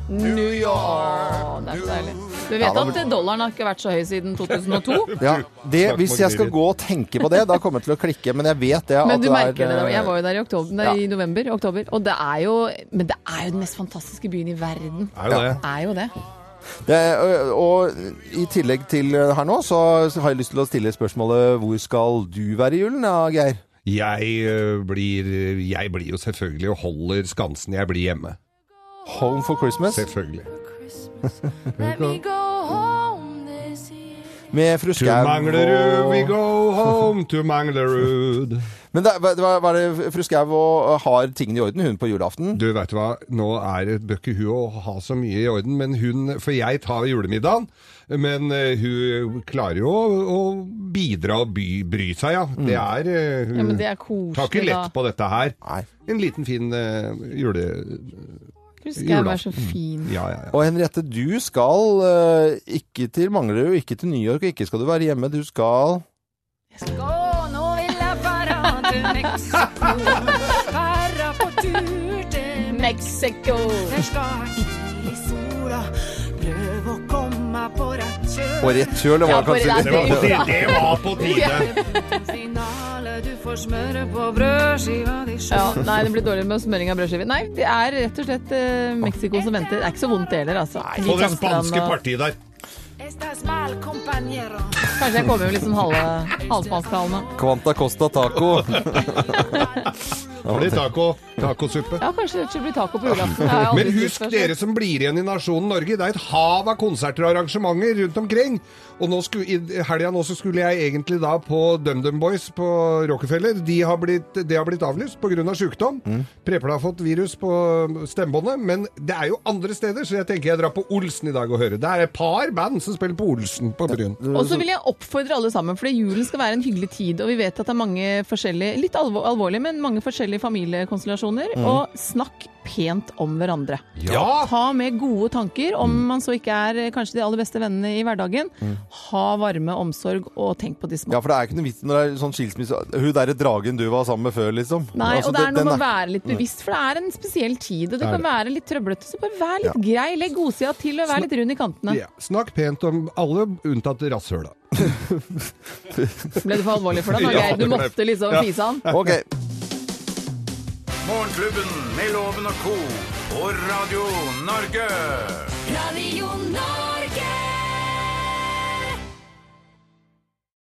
[SPEAKER 1] New York. Det er så deilig. Du
[SPEAKER 2] Ja,
[SPEAKER 1] vet
[SPEAKER 2] da-
[SPEAKER 1] at dollaren har ikke vært så høy siden 2002?
[SPEAKER 2] Ja, det, hvis jeg skal gå og tenke på det, da kommer jeg til å klikke. Men jeg vet det. at
[SPEAKER 1] Men du
[SPEAKER 2] er,
[SPEAKER 1] merker det. da.
[SPEAKER 2] eh,
[SPEAKER 1] Jeg var jo der i, oktober, nei,
[SPEAKER 2] Ja.
[SPEAKER 1] i november. Oktober, og det er jo Men det er jo den mest fantastiske byen i verden.
[SPEAKER 2] Er jo det.
[SPEAKER 1] Er jo det.
[SPEAKER 2] eh, Det, og, og i tillegg til eh, her nå, så, så har jeg lyst til å stille spørsmålet Hvor skal du være i julen, da, Geir?
[SPEAKER 3] Jeg eh, blir, jeg blir jo selvfølgelig og holder skansen. Jeg blir hjemme.
[SPEAKER 2] Home for Christmas?
[SPEAKER 3] Selvfølgelig.
[SPEAKER 12] Let me go home this year.
[SPEAKER 2] Med fru
[SPEAKER 3] To
[SPEAKER 2] Skau
[SPEAKER 3] Manglerud, we go home to Manglerud.
[SPEAKER 2] Men det, hva, hva hva er det fru Skau og- har tingene i orden, hun, på julaften?
[SPEAKER 3] Du vet hva, nå er det bøkke hun å ha så mye i orden, men hun, for jeg tar julemiddagen, men eh, hun klarer jo å, å bidra og by, bry seg, ja. Det er, eh, hun
[SPEAKER 1] Ja, men det er koselig,
[SPEAKER 3] tar ikke
[SPEAKER 1] da.
[SPEAKER 3] lett på dette her. En liten fin eh, jule...
[SPEAKER 1] Husker jeg var så
[SPEAKER 3] julaften.
[SPEAKER 1] fin.
[SPEAKER 3] Ja, ja, ja.
[SPEAKER 2] Og Henriette, du skal eh, ikke til Manglerud, ikke til New York, og ikke skal du være hjemme. Du skal
[SPEAKER 12] Gå, nå vil jeg være til Mexico. Være på tur til
[SPEAKER 1] Mexico.
[SPEAKER 12] Der skal jeg hvile i sola, prøve å komme på rett kjøl.
[SPEAKER 2] På rett kjøl, det var
[SPEAKER 12] Ja, på
[SPEAKER 2] kanskje
[SPEAKER 12] rett
[SPEAKER 2] det var på
[SPEAKER 12] kjøl.
[SPEAKER 2] tide. Det var på tide.
[SPEAKER 12] Signalet du får smøre på brødskiva di
[SPEAKER 1] Ja, nei, det blir dårlig med smøring av brødskiver. Nei, det er rett og slett eh, Mexico som venter. Det er ikke så vondt det heller, altså.
[SPEAKER 3] På det
[SPEAKER 1] Hvitstrand
[SPEAKER 3] spanske
[SPEAKER 1] og-
[SPEAKER 3] partiet der.
[SPEAKER 12] Estas mal compañero.
[SPEAKER 1] Kanskje jeg kommer med litt sånn halve- halvspansktalende.
[SPEAKER 2] Quanta Costa Taco.
[SPEAKER 3] Det blir taco, tacosuppe.
[SPEAKER 1] Ja, kanskje det blir taco på julaften. Det har jeg aldri
[SPEAKER 3] Men
[SPEAKER 1] spist
[SPEAKER 3] husk
[SPEAKER 1] før, så-
[SPEAKER 3] dere som blir igjen i nasjonen Norge, det er et hav av konserter og arrangementer rundt omkring. Og nå skulle, i helga nå så skulle jeg egentlig da på DumDum Boys på Rockefeller. De har blitt, det har blitt avlyst pga. Av sykdom. Preben har fått virus på stemmebåndet, men det er jo andre steder, så jeg tenker jeg drar på Olsen i dag og hører. Det er et par band som spiller på Olsen på Bryn.
[SPEAKER 1] Og så vil jeg oppfordre alle sammen, for julen skal være en hyggelig tid. Og vi vet at det er mange forskjellige, litt alvor, alvorlige, men mange forskjellige familiekonstellasjoner.
[SPEAKER 3] Mhm.
[SPEAKER 1] Og snakk pent om hverandre.
[SPEAKER 3] Ja.
[SPEAKER 1] Ta med gode tanker, om man så ikke er eh, kanskje de aller beste vennene i hverdagen. Ha varme omsorg, og tenk på de små.
[SPEAKER 2] Ja, for det er ikke noe vits når det er sånn skilsmisse Hun derre dragen du var sammen med før, liksom.
[SPEAKER 1] Nei,
[SPEAKER 2] Altså,
[SPEAKER 1] og det er
[SPEAKER 2] den-
[SPEAKER 1] noe med å
[SPEAKER 2] den er-
[SPEAKER 1] være litt bevisst, for det er en spesiell tid. Og
[SPEAKER 3] Det
[SPEAKER 1] det
[SPEAKER 3] er
[SPEAKER 1] kan
[SPEAKER 3] det.
[SPEAKER 1] være litt trøblete, så bare vær litt grei. Legg godsida til, og vær litt rund i kantene.
[SPEAKER 3] Ja. Snakk pent om alle, unntatt rasshøla.
[SPEAKER 1] Ble du for alvorlig for det nå, Geir? Du måtte liksom fise han.
[SPEAKER 4] Morgenklubben med Loven og Co. på Radio Norge.